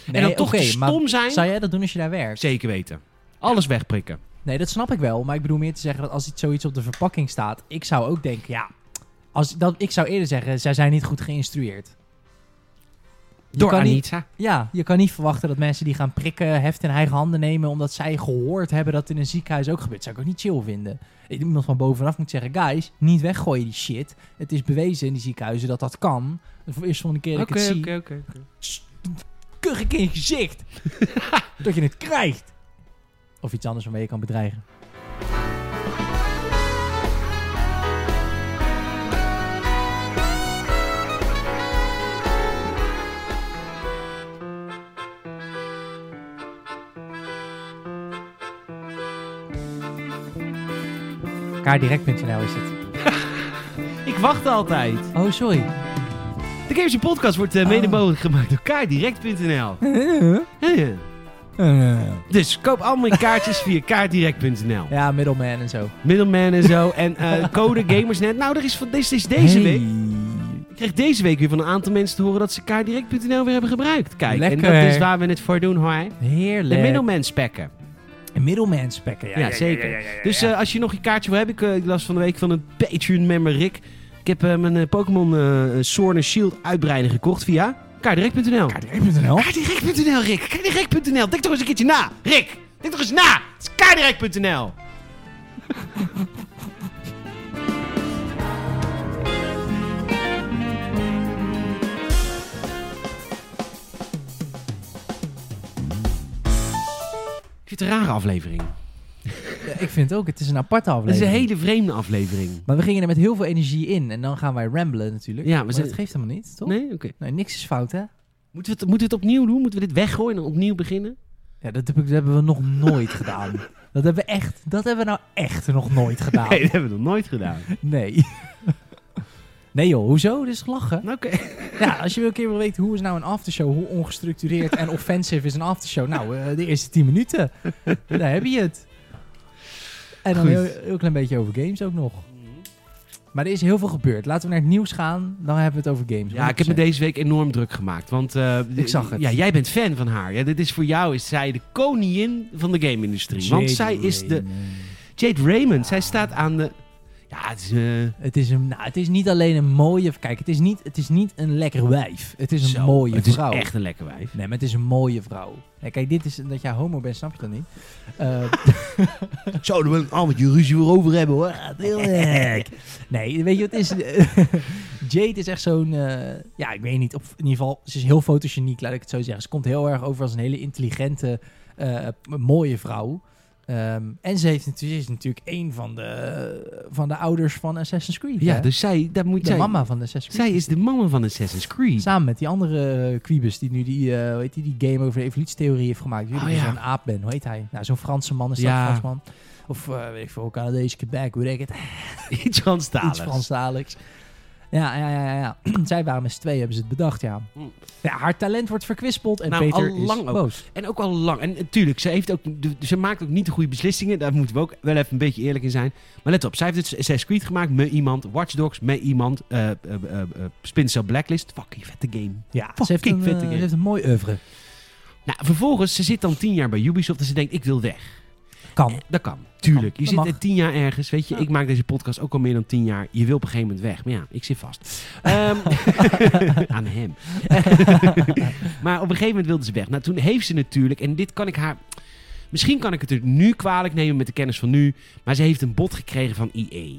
Speaker 1: en dan
Speaker 2: Nee,
Speaker 1: toch
Speaker 2: oké,
Speaker 1: te
Speaker 2: maar
Speaker 1: stom zijn.
Speaker 2: Zou jij dat doen als je daar werkt?
Speaker 1: Zeker weten. Alles wegprikken.
Speaker 2: Nee, dat snap ik wel. Maar ik bedoel meer te zeggen dat als iets zoiets op de verpakking staat, ik zou ook denken, ja. Als, dat, ik zou eerder zeggen, zij zijn niet goed geïnstrueerd. Je
Speaker 1: Door
Speaker 2: kan niet-
Speaker 1: Anita.
Speaker 2: ja, je kan niet verwachten dat mensen die gaan prikken heft in eigen handen nemen, omdat zij gehoord hebben dat het in een ziekenhuis ook gebeurt. Zou ik ook niet chill vinden. Iemand van bovenaf moet zeggen, guys, niet weggooien die shit. Het is bewezen in die ziekenhuizen dat dat kan. Voor de eerste volgende keer dat ik het zie,
Speaker 1: oké.
Speaker 2: kug ik in je gezicht. dat je het krijgt. Of iets anders waarmee je kan bedreigen. kaardirect.nl is het.
Speaker 1: Ik wacht altijd.
Speaker 2: Oh, sorry.
Speaker 1: De Games Net Podcast wordt eh, mede
Speaker 2: Oh.
Speaker 1: mogelijk gemaakt door kaartdirect.nl. Huh. Dus koop allemaal je kaartjes via kaartdirect.nl.
Speaker 2: Ja, middleman en zo.
Speaker 1: Middleman en zo. En eh, code Gamersnet. Nou, er is van, dit is deze week. Ik kreeg deze week weer van een aantal mensen te horen dat ze kaartdirect.nl weer hebben gebruikt. Kijk, en dat
Speaker 2: Lekker.
Speaker 1: is waar we het voor doen hoor. De
Speaker 2: Heerlijk.
Speaker 1: middleman spekken.
Speaker 2: Middleman spekken, ja.
Speaker 1: Ja, zeker. Dus eh, als je nog je kaartje wil hebben, ik, eh, ik las van de week van een Patreon-member Rick. Ik heb eh, mijn eh, Pokémon eh Sword and Shield uitbreider gekocht via kaartdirect.nl.
Speaker 2: Kaardirect.nl.
Speaker 1: Kaardirect.nl, Rick. Kaardirect.nl. Denk toch eens een keertje na. Rick, denk toch eens na. Het is kaardirect.nl. Ik vind het een rare aflevering.
Speaker 2: Ja, Eh, ik vind het ook, het is een aparte
Speaker 1: Het is
Speaker 2: aflevering.
Speaker 1: een hele vreemde aflevering.
Speaker 2: Maar we gingen er met heel veel energie in en dan gaan wij ramblen natuurlijk.
Speaker 1: Ja, maar
Speaker 2: maar,
Speaker 1: ze-
Speaker 2: dat geeft helemaal niet, toch?
Speaker 1: Nee? Oké.
Speaker 2: Nee, niks is fout, hè?
Speaker 1: Moeten, we het- moeten we het opnieuw doen? Moeten we dit weggooien en opnieuw beginnen?
Speaker 2: Ja, dat, heb ik, dat hebben we nog nooit gedaan. Dat hebben we echt, dat hebben we nou echt nog nooit gedaan.
Speaker 1: Nee, dat hebben we nog nooit gedaan.
Speaker 2: Nee. Nee joh, hoezo? Dit is lachen.
Speaker 1: Oké.
Speaker 2: Ja, als je wil een keer wil weten hoe is nou een aftershow, hoe ongestructureerd en offensive is een aftershow. Nou, eh, de eerste 10 minuten, daar heb je het. En dan
Speaker 1: Goed.
Speaker 2: een heel, heel klein beetje over games ook nog. Maar er is heel veel gebeurd. Laten we naar het nieuws gaan, dan hebben we het over games.
Speaker 1: Ja, ik heb me
Speaker 2: 100%.
Speaker 1: deze week enorm druk gemaakt. Want eh,
Speaker 2: Ik zag het.
Speaker 1: Ja, jij bent fan van haar. Ja, dit is voor jou is zij de koningin van de game-industrie. Want
Speaker 2: Jade
Speaker 1: zij is de.
Speaker 2: Raymond.
Speaker 1: Jade Raymond. Zij staat aan de. Ja, het is, eh,
Speaker 2: Het is, een, nou, het is niet alleen een mooie... Kijk, het is niet, het is niet een lekker wijf. Het is een
Speaker 1: zo.
Speaker 2: mooie
Speaker 1: Het is
Speaker 2: vrouw.
Speaker 1: echt een lekker wijf.
Speaker 2: Nee, maar het is een mooie vrouw. Ja, kijk, dit is dat jij homo bent, snap je dat niet? Eh,
Speaker 1: Zouden we een avondje ruzie weer over hebben hoor?
Speaker 2: Heerlijk. Nee, weet je wat het is? Jade is echt zo'n... eh, ja, ik weet niet. Op, in ieder geval, ze is heel fotogeniek, laat ik het zo zeggen. Ze komt heel erg over als een hele intelligente, eh, m- mooie vrouw. Ehm, en ze, heeft, natu- ze is natuurlijk één van de, van de ouders van Assassin's Creed.
Speaker 1: Ja,
Speaker 2: hè?
Speaker 1: dus zij. Daar moet
Speaker 2: de
Speaker 1: zij,
Speaker 2: mama van Assassin's Creed.
Speaker 1: Zij is de mama van Assassin's Creed.
Speaker 2: Samen met die andere eh, Quibus die nu die, eh, hoe heet die, die game over de evolutietheorie heeft gemaakt. Jullie
Speaker 1: Oh,
Speaker 2: die
Speaker 1: ja.
Speaker 2: zo'n aap ben, hoe heet hij? Nou, zo'n Franse man is dat,
Speaker 1: Ja.
Speaker 2: Fransman. Of eh, weet ik veel, Canadese Quebec, hoe denk ik het?
Speaker 1: Iets Frans
Speaker 2: Iets Franstaligs. Ja, ja, ja, ja, ja. Zij waren met z'n tweeën, hebben ze het bedacht, ja.
Speaker 1: Mm.
Speaker 2: ja haar talent wordt verkwispeld en
Speaker 1: Nou,
Speaker 2: Peter
Speaker 1: al
Speaker 2: is
Speaker 1: lang ook.
Speaker 2: boos.
Speaker 1: En ook al lang. En natuurlijk, ze, heeft ook, de- ze maakt ook niet de goede beslissingen. Daar moeten we ook wel even een beetje eerlijk in zijn. Maar let op, zij heeft het Assassin's Creed gemaakt met iemand. Watch Dogs met iemand. eh eh eh, eh, Splinter Cell Blacklist. Fucking vette game.
Speaker 2: Ja,
Speaker 1: Fuck,
Speaker 2: ze heeft, een,
Speaker 1: vet
Speaker 2: eh,
Speaker 1: game.
Speaker 2: ze heeft een mooi oeuvre.
Speaker 1: Nou, vervolgens, ze zit dan tien jaar bij Ubisoft en ze denkt, ik wil weg.
Speaker 2: Kan.
Speaker 1: Dat kan, tuurlijk.
Speaker 2: kan,
Speaker 1: je
Speaker 2: dat
Speaker 1: zit
Speaker 2: mag.
Speaker 1: er tien jaar ergens, weet je.
Speaker 2: Ja.
Speaker 1: Ik maak deze podcast ook al meer dan tien jaar. Je wil op een gegeven moment weg. Maar ja, ik zit vast. Ehm, aan hem. maar op een gegeven moment wilde ze weg. Nou, toen heeft ze natuurlijk, en dit kan ik haar... Misschien kan ik het er nu kwalijk nemen met de kennis van nu. Maar ze heeft een bod gekregen van EA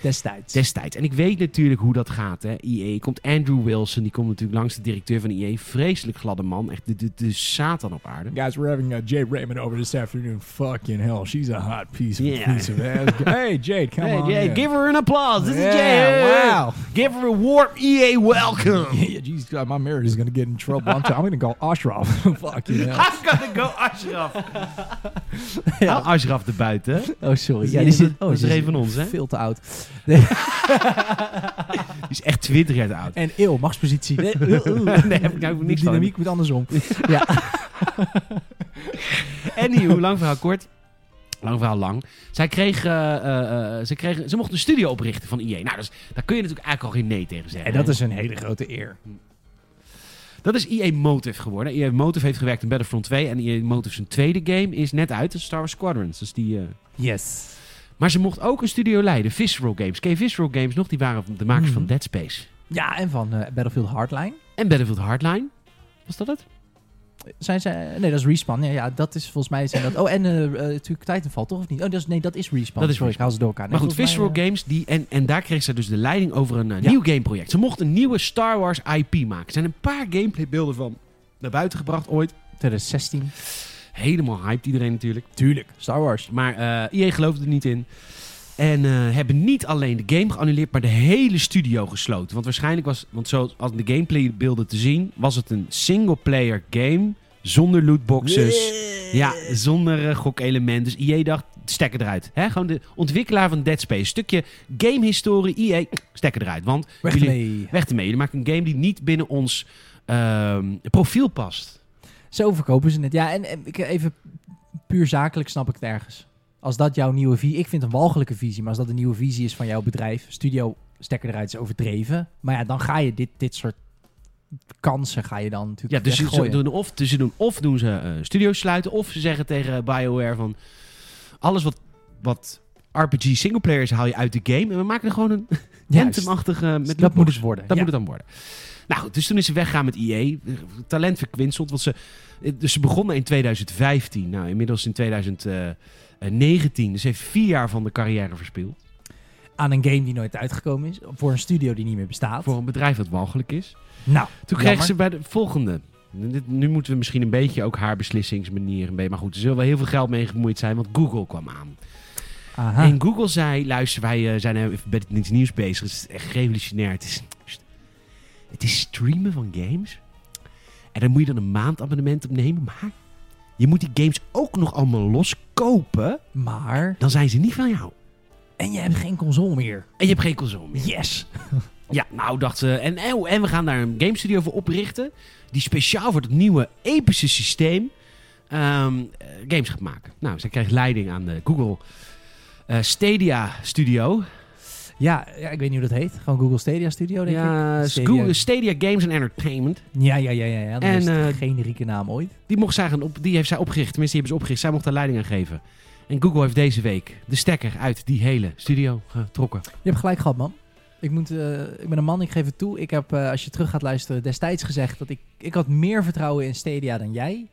Speaker 2: Destijds.
Speaker 1: destijds. En ik weet natuurlijk hoe dat gaat. Hè. EA komt Andrew Wilson, die komt natuurlijk langs de directeur van EA. Vreselijk gladde man. Echt de, de, de Satan op aarde.
Speaker 3: Guys, we're having uh, Jade Raymond over this afternoon. Fucking hell, she's a hot piece of
Speaker 1: Yeah.
Speaker 3: piece of ass. hey, Jade, come
Speaker 1: Hey,
Speaker 3: on.
Speaker 1: Jay,
Speaker 3: in.
Speaker 1: give her an applause. This is Jay.
Speaker 3: yeah, wow.
Speaker 1: Give her a warm EA welcome.
Speaker 3: Yeah, geez, uh, my marriage is gonna get in trouble. I'm, t- I'm gonna call Ashraf. Fuck you. know.
Speaker 1: I'm gonna go Ashraf. ja. Haal Ashraf erbuiten.
Speaker 2: Oh,
Speaker 1: Ja, dat
Speaker 2: sorry. Ja, die
Speaker 1: is-
Speaker 2: zit,
Speaker 1: dat is
Speaker 2: die
Speaker 1: er
Speaker 2: zit
Speaker 1: een van ons, hè?
Speaker 2: Veel te oud.
Speaker 1: Die is echt 20 jaar oud.
Speaker 2: En eeuw, machtspositie. Nee, oeh, oeh.
Speaker 1: Nee, heb ik nou
Speaker 2: De
Speaker 1: niks van.
Speaker 2: dynamiek moet andersom.
Speaker 1: Anywho, lang verhaal kort. Lang verhaal lang. Zij kreeg, eh, eh, eh, ze, kreeg, ze mocht een studio oprichten van EA. Nou, dus, daar kun je natuurlijk eigenlijk al geen nee tegen zeggen.
Speaker 2: En
Speaker 1: hè?
Speaker 2: dat is een hele grote eer.
Speaker 1: Dat is EA Motive geworden. EA Motive heeft gewerkt in Battlefront 2. En EA Motive zijn tweede game is net uit. Dat is Star Wars Squadrons. Dus die, eh,
Speaker 2: Yes.
Speaker 1: Maar ze mocht ook een studio leiden. Visceral Games. Ken je Visceral Games nog? Die waren de makers van
Speaker 2: Mhm.
Speaker 1: Dead Space.
Speaker 2: Ja, en van eh, Battlefield Hardline.
Speaker 1: En Battlefield Hardline. Was dat het?
Speaker 2: Zijn ze... Nee, dat is Respawn. Ja, ja dat is volgens mij... Zijn dat, oh, en eh, eh, natuurlijk Titanfall, toch? Of niet? Oh, dat is, nee, dat is Respawn.
Speaker 1: Dat is
Speaker 2: Sorry, ik haal ze door elkaar. Nee,
Speaker 1: maar goed,
Speaker 2: volgens mij,
Speaker 1: Visceral
Speaker 2: eh,
Speaker 1: Games. Die, en, en daar kreeg ze dus de leiding over een eh,
Speaker 2: Ja.
Speaker 1: nieuw gameproject. Ze mocht een nieuwe Star Wars IP maken. Er zijn een paar gameplaybeelden van naar buiten gebracht ooit.
Speaker 2: eh, 2016.
Speaker 1: Helemaal hyped iedereen natuurlijk.
Speaker 2: Tuurlijk. Star Wars.
Speaker 1: Maar eh EA geloofde er niet in. En eh, hebben niet alleen de game geannuleerd, maar de hele studio gesloten. Want waarschijnlijk was, want zoals aan de gameplaybeelden te zien, was het een single-player game Zonder lootboxes. Ja, zonder eh, gokelement. Dus EA dacht, stekker eruit. Hè? Gewoon de ontwikkelaar van Dead Space. Stukje gamehistorie, EA, stekker eruit. Want
Speaker 2: Weg
Speaker 1: jullie,
Speaker 2: ermee.
Speaker 1: weg ermee. Jullie maken een game die niet binnen ons ehm, profiel past.
Speaker 2: Zo verkopen ze het. Ja, en, en ik- even puur zakelijk snap ik het ergens. Als dat jouw nieuwe visie... Ik vind het een walgelijke visie, maar als dat de nieuwe visie is van jouw bedrijf... Studio stekker eruit is overdreven. Maar ja, dan ga je dit, dit soort kansen ga je dan
Speaker 1: Ja,
Speaker 2: natuurlijk
Speaker 1: dus ze
Speaker 2: weggooien.
Speaker 1: doen of, dus ze doen, of doen ze eh, studio's sluiten, of ze zeggen tegen BioWare van... Alles wat, wat RPG singleplayer is, haal je uit de game. En we maken er gewoon een
Speaker 2: Juist.
Speaker 1: Anthem-achtige... eh, met
Speaker 2: dat moet
Speaker 1: lootboxes.
Speaker 2: het worden.
Speaker 1: Dat
Speaker 2: ja.
Speaker 1: moet het dan worden. Nou goed, dus toen is ze weggaan met EA. Talent verkwinseld. Want ze, dus ze begonnen in 2015. Nou, inmiddels in 2019. Dus ze heeft vier jaar van de carrière verspild.
Speaker 2: Aan een game die nooit uitgekomen is. Voor een studio die niet meer bestaat.
Speaker 1: Voor een bedrijf dat walgelijk is.
Speaker 2: Nou,
Speaker 1: Toen
Speaker 2: Jammer.
Speaker 1: kreeg ze bij de volgende. Dit- Nu moeten we misschien een beetje ook haar beslissingsmanier... Een beetje, maar goed, er zullen wel heel veel geld mee gemoeid zijn. Want Google kwam aan.
Speaker 2: aha.
Speaker 1: En Google zei... Luister, wij eh, zijn even met iets nieuws bezig. Het is echt revolutionair. Het is, het is streamen van games. En daar moet je dan een maandabonnement op nemen. Maar je moet die games ook nog allemaal loskopen.
Speaker 2: Maar...
Speaker 1: Dan zijn ze niet van jou.
Speaker 2: En je hebt geen console meer.
Speaker 1: En je hebt geen console meer.
Speaker 2: Yes!
Speaker 1: Ja, nou dacht ze. En, en en we gaan daar een game studio voor oprichten. Die speciaal voor het nieuwe epische systeem ehm, eh, games gaat maken. Nou, zij kreeg leiding aan de Google eh, Stadia Studio.
Speaker 2: Ja, ja, ik weet niet hoe dat heet. Gewoon Google Stadia Studio, Oh, denk ik.
Speaker 1: ja,
Speaker 2: Stadia.
Speaker 1: Google Stadia Games and Entertainment.
Speaker 2: Ja, ja, ja, ja. ja. Dat
Speaker 1: En,
Speaker 2: is de
Speaker 1: eh,
Speaker 2: generieke naam ooit.
Speaker 1: Die, mocht zij gaan op, die heeft zij opgericht. Tenminste, die hebben ze opgericht. Zij mocht daar leiding aan geven. En Google heeft deze week de stekker uit die hele studio getrokken.
Speaker 2: Je hebt gelijk gehad, man. Ik, moet, eh, ik ben een man, ik geef het toe. Ik heb, eh, als je terug gaat luisteren, destijds gezegd dat ik, ik had meer vertrouwen in Stadia dan jij.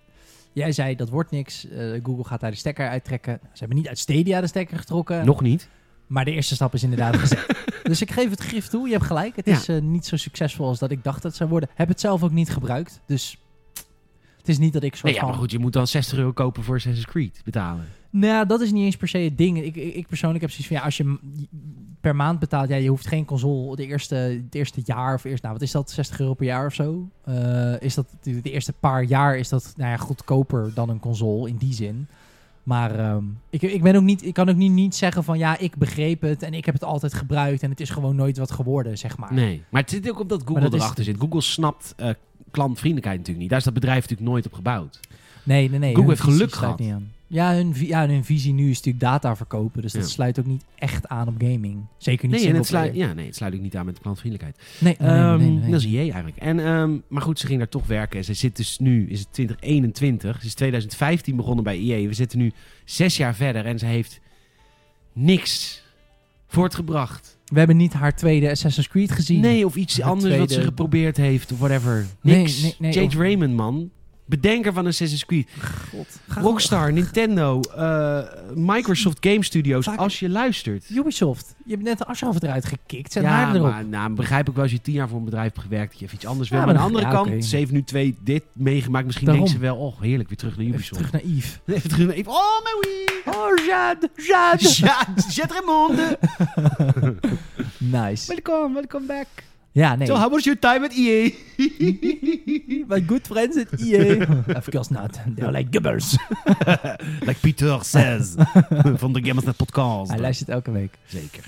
Speaker 2: Jij zei, dat wordt niks. eh, Google gaat daar de stekker uittrekken. Nou, Ze hebben niet uit Stadia de stekker getrokken.
Speaker 1: Nog niet.
Speaker 2: Maar de eerste stap is inderdaad gezet. Dus ik geef het grif toe. Je hebt gelijk. Het
Speaker 1: Ja.
Speaker 2: is eh, niet zo succesvol als dat ik dacht dat het zou worden. Heb het zelf ook niet gebruikt. Dus het is niet dat ik soort
Speaker 1: Nee, ja, maar
Speaker 2: van...
Speaker 1: goed, je moet dan 60 euro kopen voor Assassin's Creed betalen.
Speaker 2: Nou, dat is niet eens per se het ding. Ik, ik, ik persoonlijk heb zoiets van, ja, als je m- per maand betaalt, ja, je hoeft geen console de eerste, het eerste jaar of eerst, nou, wat is dat, 60 euro per jaar of zo? Eh, is dat, de, de eerste paar jaar is dat, nou ja, goedkoper dan een console in die zin. Maar ehm, ik, ik, ben ook niet, ik kan ook niet, niet zeggen van, ja, ik begreep het en ik heb het altijd gebruikt en het is gewoon nooit wat geworden, zeg maar.
Speaker 1: Nee, maar het zit ook op dat Google
Speaker 2: Ah. Maar dat is-
Speaker 1: erachter zit. Google snapt eh, klantvriendelijkheid natuurlijk niet. Daar is dat bedrijf natuurlijk nooit op gebouwd.
Speaker 2: Nee, nee, nee.
Speaker 1: Google
Speaker 2: hun
Speaker 1: heeft
Speaker 2: visie
Speaker 1: geluk
Speaker 2: sluit
Speaker 1: gehad.
Speaker 2: niet aan. Ja hun, vi- ja, hun visie nu is natuurlijk data verkopen, dus dat
Speaker 1: Ja.
Speaker 2: sluit ook niet echt aan op gaming. Zeker niet
Speaker 1: Nee, en het
Speaker 2: singleplayer.
Speaker 1: sluit, ja, nee, het sluit ook niet aan met de klantvriendelijkheid.
Speaker 2: Nee, dus nee, nee,
Speaker 1: Ehm,
Speaker 2: nee, nee.
Speaker 1: Dat is jij eigenlijk. En, ehm, maar goed, ze ging daar toch werken. En Ze zit dus nu, is het 2021. Ze is 2015 begonnen bij IE. We zitten nu zes jaar verder en ze heeft niks voortgebracht.
Speaker 2: We hebben niet haar tweede Assassin's Creed gezien.
Speaker 1: Nee, of iets
Speaker 2: Het
Speaker 1: anders wat
Speaker 2: tweede-
Speaker 1: ze geprobeerd heeft of whatever.
Speaker 2: Nee,
Speaker 1: Niks.
Speaker 2: nee, oh. nee,
Speaker 1: Jade
Speaker 2: of-
Speaker 1: Raymond, man. Bedenker van Assassin's Creed.
Speaker 2: God.
Speaker 1: Rockstar, Nintendo, eh, Microsoft Game Studios,
Speaker 2: Vaak-
Speaker 1: als je luistert.
Speaker 2: Ubisoft. Je hebt net de Ashraf eruit gekikt. Zet
Speaker 1: ja,
Speaker 2: haar erop.
Speaker 1: maar nou, begrijp ik wel als je tien jaar voor een bedrijf hebt gewerkt dat je even iets anders
Speaker 2: Ja,
Speaker 1: wil.
Speaker 2: maar
Speaker 1: Maar aan de
Speaker 2: dat-
Speaker 1: andere
Speaker 2: ja,
Speaker 1: kant,
Speaker 2: oké.
Speaker 1: ze heeft nu twee dit meegemaakt. Misschien
Speaker 2: Daarom.
Speaker 1: denkt ze wel, oh heerlijk, weer terug naar
Speaker 2: Even
Speaker 1: Ubisoft.
Speaker 2: terug naar Yves.
Speaker 1: Even terug naar... even- Oh, mijn wee!
Speaker 2: Oh, Jade. Jade.
Speaker 1: Ja, Jet Raymond!
Speaker 2: Nice.
Speaker 1: Welkom, welkom back.
Speaker 2: Ja, nee.
Speaker 1: So, how was your time at
Speaker 2: E
Speaker 1: EA?
Speaker 2: My good friends E at EA. of course not. They're like gubbers.
Speaker 1: like Peter says, van de Gamers Net podcast.
Speaker 2: Hij luistert elke week.
Speaker 1: Zeker.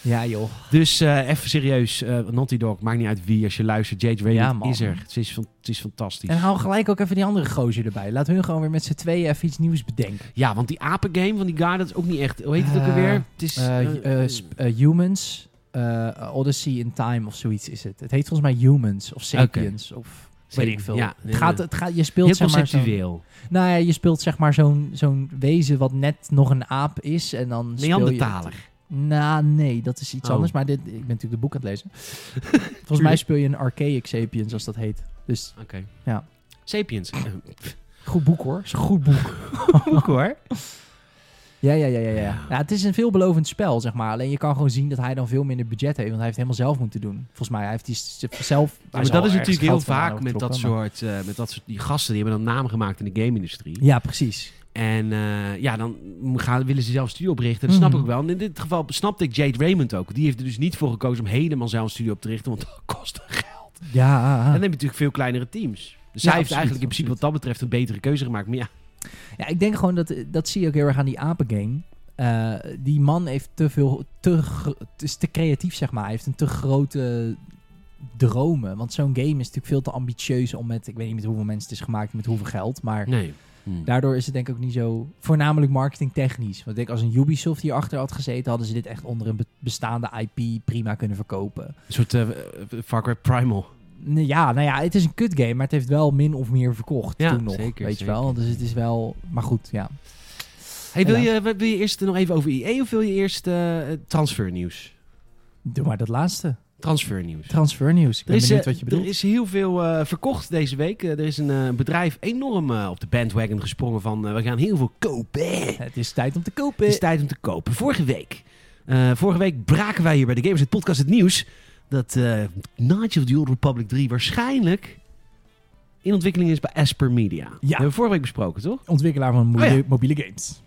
Speaker 2: Ja, joh.
Speaker 1: Dus eh, even serieus, eh, Naughty Dog, maakt niet uit wie. Als je luistert, Jade
Speaker 2: Ja,
Speaker 1: Raymond
Speaker 2: man.
Speaker 1: is er. Ze is, fan- ze is fantastisch.
Speaker 2: En hou gelijk ook even die andere gozer erbij. Laat hun gewoon weer met z'n tweeën even iets nieuws bedenken.
Speaker 1: Ja, want die apengame van die guy, dat is ook niet echt... Hoe heet het ook
Speaker 2: Eh,
Speaker 1: alweer? Het is...
Speaker 2: Eh,
Speaker 1: eh,
Speaker 2: eh, sp- eh, humans. eh, Odyssey in Time of zoiets is het. Het heet volgens mij Humans of Sapiens of weet ik veel. eh,
Speaker 1: Ja,
Speaker 2: het gaat, het gaat, je speelt
Speaker 1: heel
Speaker 2: zeg maar zo'n-
Speaker 1: conceptueel.
Speaker 2: Nou ja, je speelt zeg maar zo'n zo'n wezen wat net nog een aap is. En dan speel je...
Speaker 1: Neandertaler.
Speaker 2: Nou, nee, dat is iets
Speaker 1: Oh.
Speaker 2: anders. Maar dit, ik ben natuurlijk de boek aan het lezen. Volgens mij speel je een archaic sapiens, als dat heet. Dus
Speaker 1: Oké.
Speaker 2: Ja.
Speaker 1: Sapiens.
Speaker 2: goed boek hoor. Is een goed boek.
Speaker 1: Boek hoor.
Speaker 2: Ja, ja, ja, ja, ja.
Speaker 1: Ja.
Speaker 2: ja. Het is een veelbelovend spel, zeg maar. Alleen je kan gewoon zien dat hij dan veel minder budget heeft. Want hij heeft helemaal zelf moeten doen. Volgens mij, hij heeft die s- zelf... hij
Speaker 1: maar
Speaker 2: zal
Speaker 1: dat is
Speaker 2: ergens
Speaker 1: natuurlijk heel
Speaker 2: geld van aan
Speaker 1: vaak met dat,
Speaker 2: overtrokken, maar-
Speaker 1: soort, eh, met dat soort... Die gasten die hebben dan naam gemaakt in de game-industrie.
Speaker 2: Ja, precies.
Speaker 1: En eh, ja, dan gaan, willen ze zelf een studio oprichten. Dat snap
Speaker 2: Mhm.
Speaker 1: ik wel. En in dit geval snapte ik Jade Raymond ook. Die heeft er dus niet voor Ah. gekozen om helemaal zelf een studio op te richten. Want dat kost geld.
Speaker 2: Ja, ah,
Speaker 1: Dan heb je natuurlijk veel kleinere teams. Dus Dus hij heeft
Speaker 2: absoluut,
Speaker 1: eigenlijk in principe wat dat betreft een betere keuze gemaakt. Maar ja,
Speaker 2: Ja, ik denk gewoon dat dat zie je ook heel erg aan die apengame. Eh die man heeft te veel, te, gro- het is te creatief zeg maar. Hij heeft een te grote dromen. Want zo'n game is natuurlijk veel te ambitieus om met, ik weet niet met hoeveel mensen het is gemaakt, met hoeveel geld. Maar
Speaker 1: nee.
Speaker 2: daardoor is het denk ik ook niet zo, voornamelijk marketingtechnisch. Want ik denk als een Ubisoft hierachter had gezeten, hadden ze dit echt onder een be- bestaande IP prima kunnen verkopen.
Speaker 1: Een soort eh, Far Cry Primal.
Speaker 2: Nee, Ja, nou ja, het is een kut game, maar het heeft wel min of meer verkocht
Speaker 1: Ja,
Speaker 2: toen nog.
Speaker 1: zeker,
Speaker 2: weet
Speaker 1: zeker.
Speaker 2: je wel, dus het is wel, maar goed, ja.
Speaker 1: Hey, wil,
Speaker 2: Ja.
Speaker 1: je, wil je eerst nog even over IE of wil je eerst eh, transfernieuws?
Speaker 2: Doe maar dat laatste.
Speaker 1: Transfernieuws.
Speaker 2: Transfernieuws. Ik
Speaker 1: Er
Speaker 2: ben
Speaker 1: is,
Speaker 2: benieuwd
Speaker 1: eh,
Speaker 2: wat je bedoelt.
Speaker 1: er is heel veel eh, verkocht deze week. Eh, er is een eh, bedrijf enorm eh, op de bandwagon gesprongen van eh, we gaan heel veel kopen.
Speaker 2: Het is tijd om te kopen.
Speaker 1: Het is tijd om te kopen. Vorige week, eh, vorige week braken wij hier bij de Gamers het Podcast het nieuws dat eh Nigel of the Old Republic 3 waarschijnlijk in ontwikkeling is bij Asper Media. Dat hebben we vorige week besproken, toch?
Speaker 2: Ontwikkelaar van
Speaker 1: Oh ja.
Speaker 2: mobiele games.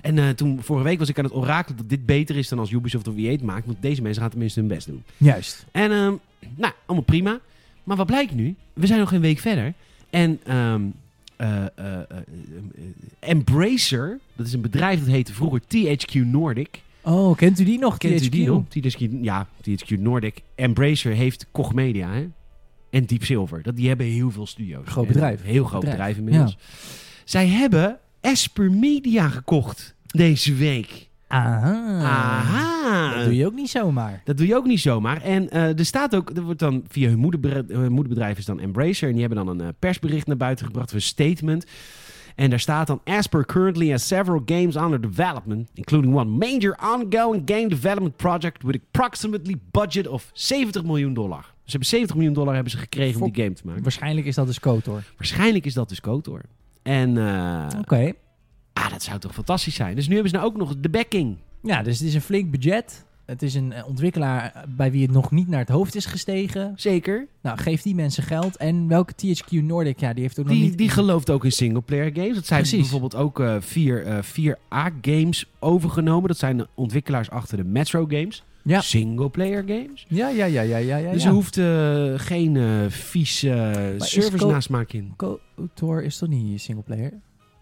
Speaker 1: En eh, toen, vorige week was ik aan het orakelen dat dit beter is dan als Ubisoft of EA het maakt, want deze mensen gaan tenminste hun best doen.
Speaker 2: Juist.
Speaker 1: En, ehm, nou, allemaal prima. Maar wat blijkt nu? We zijn nog een week verder. En ehm, eh, eh, eh, eh, eh, Embracer, dat is een bedrijf dat heette vroeger THQ Nordic.
Speaker 2: Oh, kent u die nog?
Speaker 1: Kent u die
Speaker 2: THQ?
Speaker 1: nog? THQ, ja, THQ Nordic. Embracer heeft Koch Media, hè? En Deep Silver. Dat, die hebben heel veel studio's.
Speaker 2: Groot
Speaker 1: Heel-
Speaker 2: bedrijf.
Speaker 1: Heel groot bedrijf,
Speaker 2: Bedrijf,
Speaker 1: inmiddels. Zij hebben Esper Media gekocht deze week.
Speaker 2: Aha.
Speaker 1: Aha.
Speaker 2: Dat doe je ook niet zomaar.
Speaker 1: Dat doe je ook niet zomaar. En eh, er staat ook, er wordt dan via hun moederbedrijf, hun moederbedrijf is dan Embracer. En die hebben dan een eh, persbericht naar buiten gebracht, of een statement. En daar staat dan, Asper currently has several games under development, including one major ongoing game development project with approximately budget of 70 miljoen dollar. Dus ze hebben 70 miljoen dollar hebben ze gekregen om
Speaker 2: Fok.
Speaker 1: die game te maken.
Speaker 2: Waarschijnlijk is dat dus KOTOR.
Speaker 1: Waarschijnlijk is dat dus KOTOR. En eh,
Speaker 2: Oké.
Speaker 1: ah, dat zou toch fantastisch zijn. Dus nu hebben ze nou ook nog de backing.
Speaker 2: Ja, dus het is een flink budget. Het is een eh, ontwikkelaar eh, bij wie het nog niet naar het hoofd is gestegen.
Speaker 1: Zeker.
Speaker 2: Nou, geef die mensen geld. En welke THQ Nordic? Ja, die heeft ook nog
Speaker 1: Die,
Speaker 2: niet...
Speaker 1: die gelooft ook in singleplayer games. Dat zijn
Speaker 2: Precies.
Speaker 1: bijvoorbeeld ook eh, vier, eh, vier A-games overgenomen. Dat zijn de ontwikkelaars achter de Metro games.
Speaker 2: Ja.
Speaker 1: Singleplayer games.
Speaker 2: Ja, ja, ja, ja, ja, ja.
Speaker 1: dus
Speaker 2: ja.
Speaker 1: er hoeft eh, geen eh vies eh
Speaker 2: is
Speaker 1: service
Speaker 2: Ko- Nou,
Speaker 1: nasmaak in.
Speaker 2: KOTOR is toch niet singleplayer?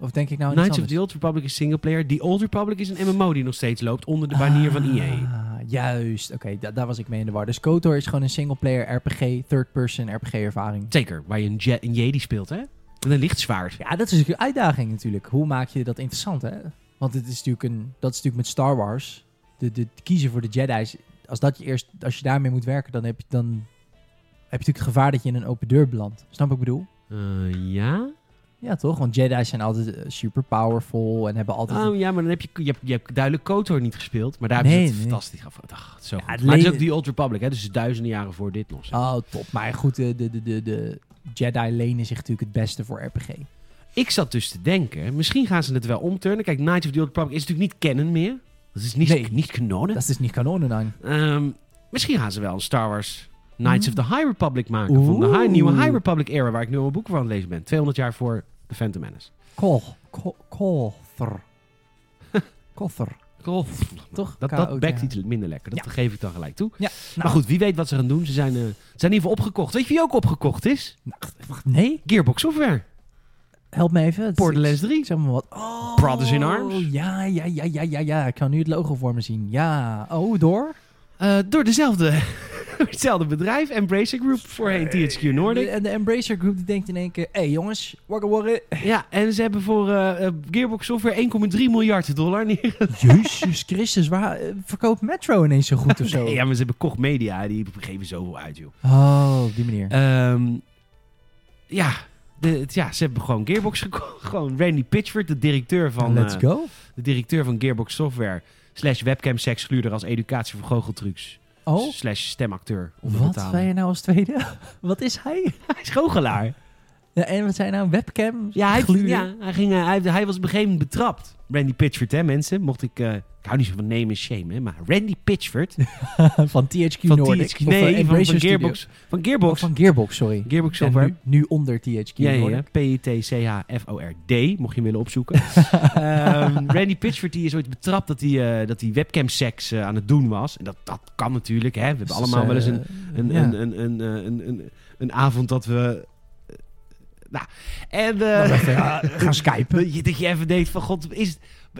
Speaker 2: Of denk ik nou iets
Speaker 1: Knights of
Speaker 2: anders?
Speaker 1: the Old Republic is singleplayer. The Old Republic is een MMO die nog steeds loopt onder de banier van E EA.
Speaker 2: Ah, Juist, oké, da- daar was ik mee in de war. Dus KOTOR is gewoon een singleplayer RPG, third-person RPG-ervaring.
Speaker 1: Zeker, waar je een, je een Jedi speelt, hè? Met een lichtzwaard.
Speaker 2: Ja, dat is een uitdaging natuurlijk. Hoe maak je dat interessant, hè? Want het is natuurlijk een, dat is natuurlijk met Star Wars. De, de, het kiezen voor de Jedi's, als, dat je eerst, als je daarmee moet werken, dan heb je, dan heb je natuurlijk het gevaar dat je in een open deur belandt. Snap wat ik bedoel?
Speaker 1: Eh, ja?
Speaker 2: Ja, toch? Want Jedi's zijn altijd eh, super powerful en hebben altijd...
Speaker 1: Oh, ja, maar dan heb je, je, hebt, je hebt duidelijk KOTOR niet gespeeld. Maar daar
Speaker 2: Nee,
Speaker 1: hebben ze het
Speaker 2: nee.
Speaker 1: fantastisch gehad. Ach, het is zo
Speaker 2: Ja,
Speaker 1: goed.
Speaker 2: het
Speaker 1: Maar het is
Speaker 2: le-
Speaker 1: ook die Old Republic, hè? Dus duizenden jaren voor dit nog. zeg.
Speaker 2: Oh, top. Maar goed, de, de, de, de, de Jedi lenen zich natuurlijk het beste voor RPG.
Speaker 1: Ik zat dus te denken, misschien gaan ze het wel omturnen. Kijk, Knights of the Old Republic is natuurlijk niet canon meer. Dat is niet,
Speaker 2: Nee.
Speaker 1: niet kanonen.
Speaker 2: Dat is dus niet kanonen dan.
Speaker 1: Ehm, misschien gaan ze wel een Star Wars Knights of the High Republic maken. Van de
Speaker 2: Oeh.
Speaker 1: high- nieuwe High Republic era, waar ik nu al mijn boeken van aan het lezen ben. 200 jaar voor The Phantom Menace.
Speaker 2: Kol. Kol. Kolther. Koffer. Toch?
Speaker 1: Dat, dat
Speaker 2: K.O.T.H..
Speaker 1: bekt iets minder lekker. Dat geef ik dan gelijk toe.
Speaker 2: Ja, nou,
Speaker 1: Maar goed, wie weet wat ze gaan doen. Ze zijn, eh, ze zijn in ieder geval opgekocht. Weet je wie ook opgekocht is?
Speaker 2: Wacht, nee?
Speaker 1: Gearbox Software.
Speaker 2: Help me even. Het is-
Speaker 1: Borderlands 3.
Speaker 2: Zeg maar wat. Oh.
Speaker 1: Brothers in Arms.
Speaker 2: Ja, ja, ja, ja, ja, ja. Ik kan nu het logo voor me zien. Ja. Oh, door?
Speaker 1: Eh, door dezelfde, hetzelfde bedrijf, Embracer Group, voorheen THQ Nordic.
Speaker 2: En de Embracer Group die denkt in één keer... Hé hey, jongens, wakker worden.
Speaker 1: Ja, en ze hebben voor eh, eh, Gearbox Software 1,3 miljard dollar. neer-
Speaker 2: Jezus Christus, waar eh, verkoopt Metro ineens zo goed of zo?
Speaker 1: ja, maar ze hebben Koch Media, die geven zoveel uit, joh.
Speaker 2: Oh, op die manier.
Speaker 1: Ehm, ja, de, het- ja, ze hebben gewoon Gearbox gekocht. Gewoon Randy Pitchford, de directeur van,
Speaker 2: Let's
Speaker 1: eh,
Speaker 2: go.
Speaker 1: de directeur van Gearbox Software. Slash webcamsex gluurder als educatie voor goocheltrucs.
Speaker 2: Oh,
Speaker 1: Slash stemacteur. onder
Speaker 2: wat
Speaker 1: betalen.
Speaker 2: zei je nou als tweede? wat is hij?
Speaker 1: Hij is goochelaar.
Speaker 2: Ja, en wat zijn nou? Webcam?
Speaker 1: Ja, hij,
Speaker 2: Gluren?
Speaker 1: ja, hij, ging, eh, hij, hij was op een gegeven moment betrapt. Randy Pitchford, hè mensen. Mocht ik... eh, ik hou niet zo van name en shame, hè. Maar Randy Pitchford...
Speaker 2: van THQ
Speaker 1: van
Speaker 2: Nordic.
Speaker 1: THQ,
Speaker 2: Of, eh,
Speaker 1: nee, van, van
Speaker 2: Embracer Studio.
Speaker 1: Gearbox. Van Gearbox.
Speaker 2: Of van Gearbox, sorry.
Speaker 1: Gearbox
Speaker 2: En
Speaker 1: Software.
Speaker 2: nu, nu onder THQ
Speaker 1: Ja, ja, E ja.
Speaker 2: Nordic.
Speaker 1: P-I-T-C-H-F-O-R-D, mocht je hem willen opzoeken. Ehm, Randy Pitchford die is ooit betrapt dat hij, eh, dat hij webcamseks eh, aan het doen was. En dat, dat kan natuurlijk, hè. We hebben
Speaker 2: Dus,
Speaker 1: allemaal wel eens een,
Speaker 2: eh,
Speaker 1: een,
Speaker 2: ja.
Speaker 1: een, een, een, eh, een, een, een avond dat we eh, Nou, en... eh,
Speaker 3: Wacht even, eh, gaan skypen.
Speaker 1: Dat je, dat je even denkt van, god, is, het-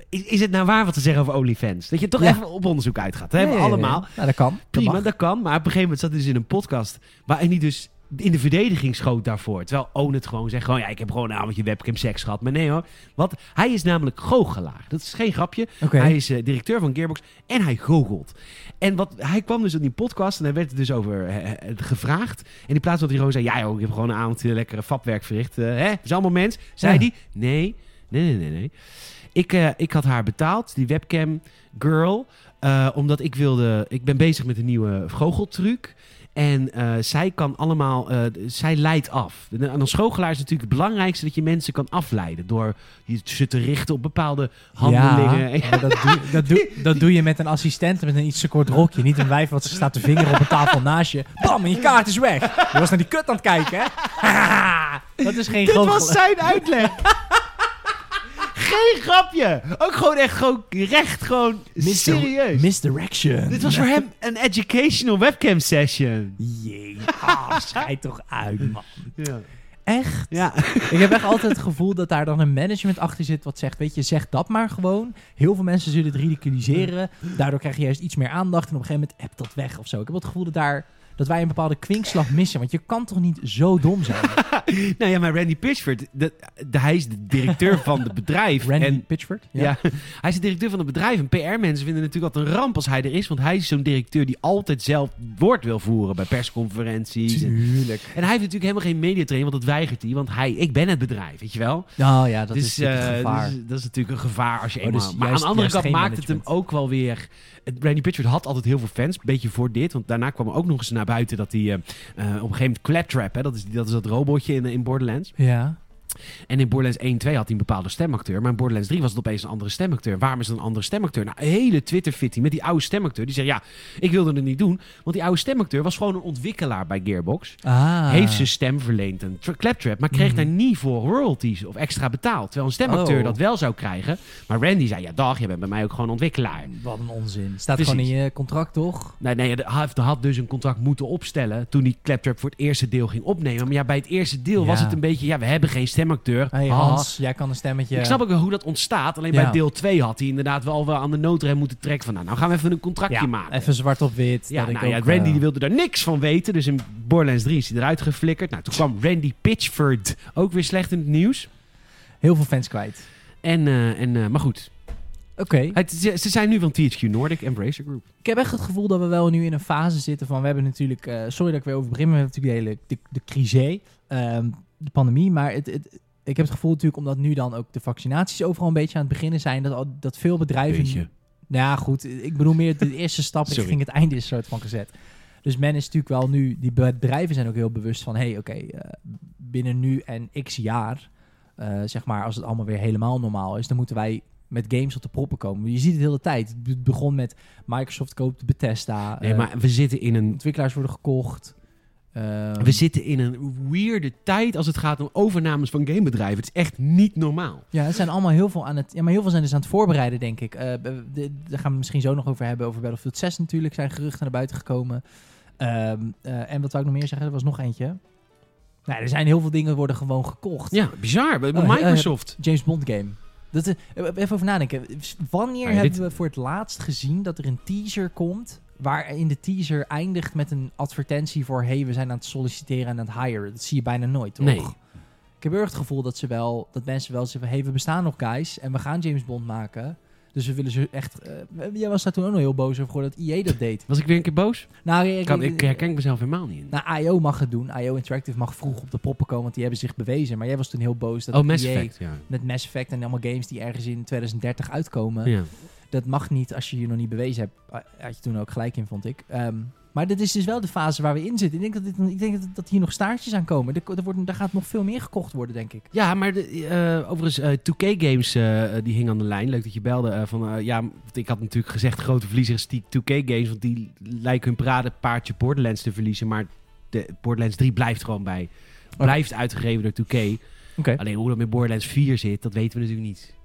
Speaker 1: is, is het nou waar wat ze zeggen over OnlyFans? Dat je toch
Speaker 2: Ja.
Speaker 1: even op onderzoek uitgaat. Dat hebben we
Speaker 2: Nee, nee,
Speaker 1: allemaal.
Speaker 2: nee. Nou, dat kan. Dat
Speaker 1: Prima,
Speaker 2: mag.
Speaker 1: dat kan. Maar op een gegeven moment zat hij dus in een podcast waarin hij dus in de verdediging schoot daarvoor. Terwijl Owen het gewoon zegt, gewoon, ja, ik heb gewoon een avondje webcam seks gehad. Maar nee hoor, want hij is namelijk goochelaar. Dat is geen grapje.
Speaker 2: Oké.
Speaker 1: Hij is eh, directeur van Gearbox en hij goochelt. En wat, hij kwam dus op die podcast en hij werd er dus over eh, eh, gevraagd. En in plaats van dat hij gewoon zei, ja joh, ik heb gewoon een avondje lekkere fapwerk verricht. eh, hè, is allemaal mens. Zei
Speaker 2: Ja.
Speaker 1: hij, nee, nee, nee, nee, nee. Ik, eh, ik had haar betaald, die webcam girl. eh, omdat ik wilde. Ik ben bezig met een nieuwe goocheltruc. En eh, zij kan allemaal. eh, d- zij leidt af. En dan- als goochelaar is natuurlijk het belangrijkste dat je mensen kan afleiden. Door je ze te richten op bepaalde handelingen.
Speaker 2: Ja, maar dat, doe, dat, doe, dat doe je met een assistent met een iets te kort rokje. Niet een wijf wat ze staat te vingeren op een tafel naast je. Bam, en je kaart is weg. Je was naar die kut aan het kijken, hè? dat is geen
Speaker 1: Dit
Speaker 2: groot
Speaker 1: was zijn uitleg. Geen grapje. Ook gewoon echt gewoon recht, gewoon serieus.
Speaker 2: Misdirection.
Speaker 1: Dit was voor hem een educational webcam session.
Speaker 2: Jee, ah, schijt toch uit, man.
Speaker 1: Ja.
Speaker 2: Echt?
Speaker 1: ja.
Speaker 2: Ik heb echt altijd het gevoel dat daar dan een management achter zit wat zegt, weet je, zeg dat maar gewoon. Heel veel mensen zullen het ridiculiseren. Daardoor krijg je juist iets meer aandacht en op een gegeven moment appt dat weg of zo. Ik heb het gevoel dat, daar, dat wij een bepaalde kwinkslag missen, want je kan toch niet zo dom zijn?
Speaker 1: Nou ja, maar Randy Pitchford, de, de- hij is de directeur van het bedrijf.
Speaker 2: Randy
Speaker 1: en,
Speaker 2: Pitchford?
Speaker 1: ja. hij is de directeur van het bedrijf. En PR-mensen vinden het natuurlijk altijd een ramp als hij er is. Want hij is zo'n directeur die altijd zelf woord wil voeren bij persconferenties. En,
Speaker 2: Tuurlijk.
Speaker 1: en hij heeft natuurlijk helemaal geen mediatraining, want dat weigert hij. Want hij, ik ben het bedrijf, weet je wel.
Speaker 2: Nou ja, dat
Speaker 1: dus,
Speaker 2: is natuurlijk
Speaker 1: eh,
Speaker 2: een gevaar.
Speaker 1: dus dat is natuurlijk een gevaar als je
Speaker 2: Oh,
Speaker 1: eenmaal...
Speaker 2: dus
Speaker 1: maar aan
Speaker 2: juist-
Speaker 1: de andere
Speaker 2: juist
Speaker 1: kant
Speaker 2: geen
Speaker 1: maakt het hem
Speaker 2: management.
Speaker 1: ook wel weer... het- Randy Pitchford had altijd heel veel fans, een beetje voor dit. Want daarna kwam er ook nog eens naar buiten dat hij eh, eh, op een gegeven moment Claptrap... Hè, dat, is, dat is dat robotje in, in Borderlands.
Speaker 2: ja.
Speaker 1: En in Borderlands 1 2 had hij een bepaalde stemacteur. Maar in Borderlands 3 was het opeens een andere stemacteur. Waarom is het een andere stemacteur? Nou, een hele Twitter-fitting met die oude stemacteur. Die zei, ja, ik wilde het niet doen. Want die oude stemacteur was gewoon een ontwikkelaar bij Gearbox.
Speaker 2: Ah. Mhm.
Speaker 1: Heeft zijn stem verleend aan Tra- Claptrap. Maar kreeg daar niet voor royalties of extra betaald. Terwijl een stemacteur
Speaker 2: Oh.
Speaker 1: dat wel zou krijgen. Maar Randy zei, ja dag, jij bent bij mij ook gewoon ontwikkelaar.
Speaker 2: Wat een onzin. Staat
Speaker 1: Precies.
Speaker 2: gewoon in je contract, toch?
Speaker 1: Nee, nee, hij had- hij had dus een contract moeten opstellen toen hij Claptrap voor het eerste deel ging opnemen. Maar ja, bij het eerste deel
Speaker 2: Ja.
Speaker 1: was het een beetje, ja, we hebben geen stemacteur.
Speaker 2: Hey,
Speaker 1: Haha.
Speaker 2: Hans, jij kan een stemmetje...
Speaker 1: Ik snap ook wel hoe dat ontstaat. Alleen bij
Speaker 2: Ja.
Speaker 1: deel 2 had hij inderdaad wel, wel aan de noodrem moeten trekken. Van nou, nou gaan we even een contractje
Speaker 2: ja,
Speaker 1: maken.
Speaker 2: even zwart op wit.
Speaker 1: ja,
Speaker 2: dat ik
Speaker 1: nou, ja,
Speaker 2: ook,
Speaker 1: Randy
Speaker 2: eh,
Speaker 1: die wilde daar niks van weten. Dus in Borderlands 3 is hij eruit geflikkerd. Nou, toen kwam Randy Pitchford ook weer slecht in het nieuws.
Speaker 2: Heel veel fans kwijt.
Speaker 1: En, eh, en, eh, maar goed,
Speaker 2: Oké.
Speaker 1: het, ze, ze zijn nu van THQ Nordic en Bracer Group.
Speaker 2: Ik heb echt het gevoel dat we wel nu in een fase zitten van... We hebben natuurlijk... eh, sorry dat ik weer over begin, maar we hebben natuurlijk de hele... De, de crisis, ehm, de pandemie. Maar het, het, ik heb het gevoel natuurlijk omdat nu dan ook de vaccinaties overal een beetje aan het beginnen zijn... Dat, al- dat veel bedrijven... Nou ja, goed. Ik bedoel meer de eerste stap
Speaker 1: Sorry.
Speaker 2: richting het einde is soort van gezet. Dus men is natuurlijk wel nu... Die bedrijven zijn ook heel bewust van... hey, oké, eh, binnen nu en x jaar... eh, zeg maar, als het allemaal weer helemaal normaal is... dan moeten wij met games op de proppen komen. Je ziet het de hele tijd. Het begon met Microsoft koopt Bethesda.
Speaker 1: Nee,
Speaker 2: eh,
Speaker 1: maar we zitten in een...
Speaker 2: Ontwikkelaars worden gekocht. Ehm,
Speaker 1: We zitten in een weirde tijd als het gaat om overnames van gamebedrijven. Het is echt niet normaal.
Speaker 2: Ja, het zijn allemaal heel veel aan het... Ja, maar heel veel zijn dus aan het voorbereiden, denk ik. Eh, b- b- de- daar gaan we het misschien zo nog over hebben. Over Battlefield 6 natuurlijk zijn geruchten naar buiten gekomen. Ehm, eh, en wat wou ik nog meer zeggen? Er was nog eentje. Nou, er zijn heel veel dingen worden gewoon gekocht.
Speaker 1: Ja, bizar. Bij bij
Speaker 2: Oh, ja, ja.
Speaker 1: Microsoft.
Speaker 2: James Bond game. Dat, is- even over nadenken. Wanneer
Speaker 1: Ah, ja,
Speaker 2: hebben
Speaker 1: dit-
Speaker 2: we voor het laatst gezien dat er een teaser komt... waarin de teaser eindigt met een advertentie voor... hey, we zijn aan het solliciteren en aan het hiren. Dat zie je bijna nooit, toch?
Speaker 1: Nee.
Speaker 2: Ik heb heel erg het gevoel dat, ze wel, dat mensen wel zeggen... hey, we bestaan nog, guys, en we gaan James Bond maken... Dus we willen ze echt... eh, jij was daar toen ook nog heel boos over geworden dat IE dat deed.
Speaker 1: Was ik weer een keer boos?
Speaker 2: Nou, ik,
Speaker 1: Kan, ik herken mezelf helemaal niet in.
Speaker 2: nou, IO mag het doen. IO Interactive mag vroeg op de proppen komen, want die hebben zich bewezen. Maar jij was toen heel boos dat E
Speaker 1: oh, Mass
Speaker 2: EA
Speaker 1: Effect, ja.
Speaker 2: met Mass Effect en allemaal games die ergens in 2030 uitkomen.
Speaker 1: ja.
Speaker 2: Dat mag niet als je je nog niet bewezen hebt. Ah, Had je toen ook gelijk in, vond ik. Ehm, maar dit is dus wel de fase waar we in zitten. Ik denk dat, dit, ik denk dat, dat hier nog staartjes aan komen. Er, ko- er, wordt, er gaat nog veel meer gekocht worden, denk ik.
Speaker 1: Ja, maar de, eh, overigens, eh 2K Games eh, eh, die hing aan de lijn. Leuk dat je belde. eh, van, eh, ja, want ik had natuurlijk gezegd, grote verliezer is die 2K Games. Want die lijken hun parade paardje Borderlands te verliezen. Maar de, Borderlands 3 blijft gewoon bij. Blijft uitgegeven door 2K.
Speaker 2: Oké.
Speaker 1: Alleen hoe dat met Borderlands 4 zit, dat weten we natuurlijk niet.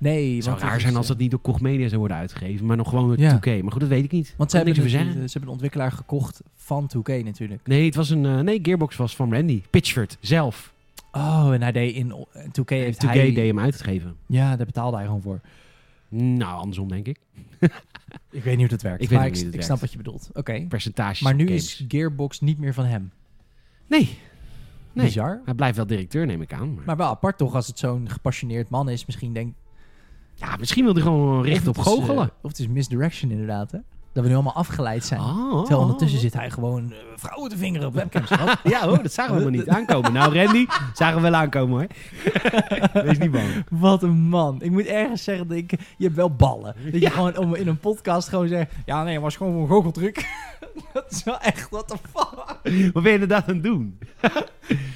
Speaker 2: Nee,
Speaker 1: Het zou
Speaker 2: want
Speaker 1: raar zijn als dat niet door Koch Media zou worden uitgegeven. Maar nog gewoon door
Speaker 2: Ja.
Speaker 1: 2K. Maar goed, dat weet ik niet.
Speaker 2: Want ze
Speaker 1: Kan ik
Speaker 2: hebben,
Speaker 1: niks over
Speaker 2: natuurlijk-
Speaker 1: zeggen.
Speaker 2: ze hebben een ontwikkelaar gekocht van 2K natuurlijk.
Speaker 1: Nee, het was een, eh, nee, Gearbox was van Randy. Pitchford zelf.
Speaker 2: Oh, en hij deed in 2K heeft
Speaker 1: 2K
Speaker 2: hij...
Speaker 1: deed hem uitgegeven.
Speaker 2: Ja, daar betaalde hij gewoon voor.
Speaker 1: Nou, andersom denk ik.
Speaker 2: Ik weet niet hoe dat werkt.
Speaker 1: Ik weet
Speaker 2: maar
Speaker 1: ook
Speaker 2: ik,
Speaker 1: niet hoe
Speaker 2: ik
Speaker 1: dat
Speaker 2: snap wat
Speaker 1: werkt.
Speaker 2: je bedoelt. Oké.
Speaker 1: Percentages
Speaker 2: Maar
Speaker 1: op
Speaker 2: nu
Speaker 1: games.
Speaker 2: is Gearbox niet meer van hem.
Speaker 1: Nee. Nee.
Speaker 2: Bizar.
Speaker 1: Hij blijft wel directeur, neem ik aan. Maar...
Speaker 2: Maar wel apart toch, als het zo'n gepassioneerd man is. Misschien denkt...
Speaker 1: ja, misschien wil hij gewoon
Speaker 2: of
Speaker 1: recht
Speaker 2: het
Speaker 1: op
Speaker 2: is,
Speaker 1: goochelen.
Speaker 2: eh, of het is misdirection inderdaad, hè? Dat we nu allemaal afgeleid zijn.
Speaker 1: Oh,
Speaker 2: Terwijl
Speaker 1: oh,
Speaker 2: ondertussen
Speaker 1: oh.
Speaker 2: zit hij gewoon eh, vrouwen te vingeren op webcams. Wat?
Speaker 1: Ja, hoor, dat zagen we helemaal niet aankomen. Nou, Randy, zagen we wel aankomen hoor. Wees niet bang.
Speaker 2: Wat een man. Ik moet ergens zeggen dat ik... Je hebt wel ballen. Dat
Speaker 1: Ja.
Speaker 2: je gewoon om, in een podcast gewoon zegt... Ja, nee, was gewoon een goocheltruc. dat is wel echt... What the fuck?
Speaker 1: Wat ben je inderdaad aan het doen?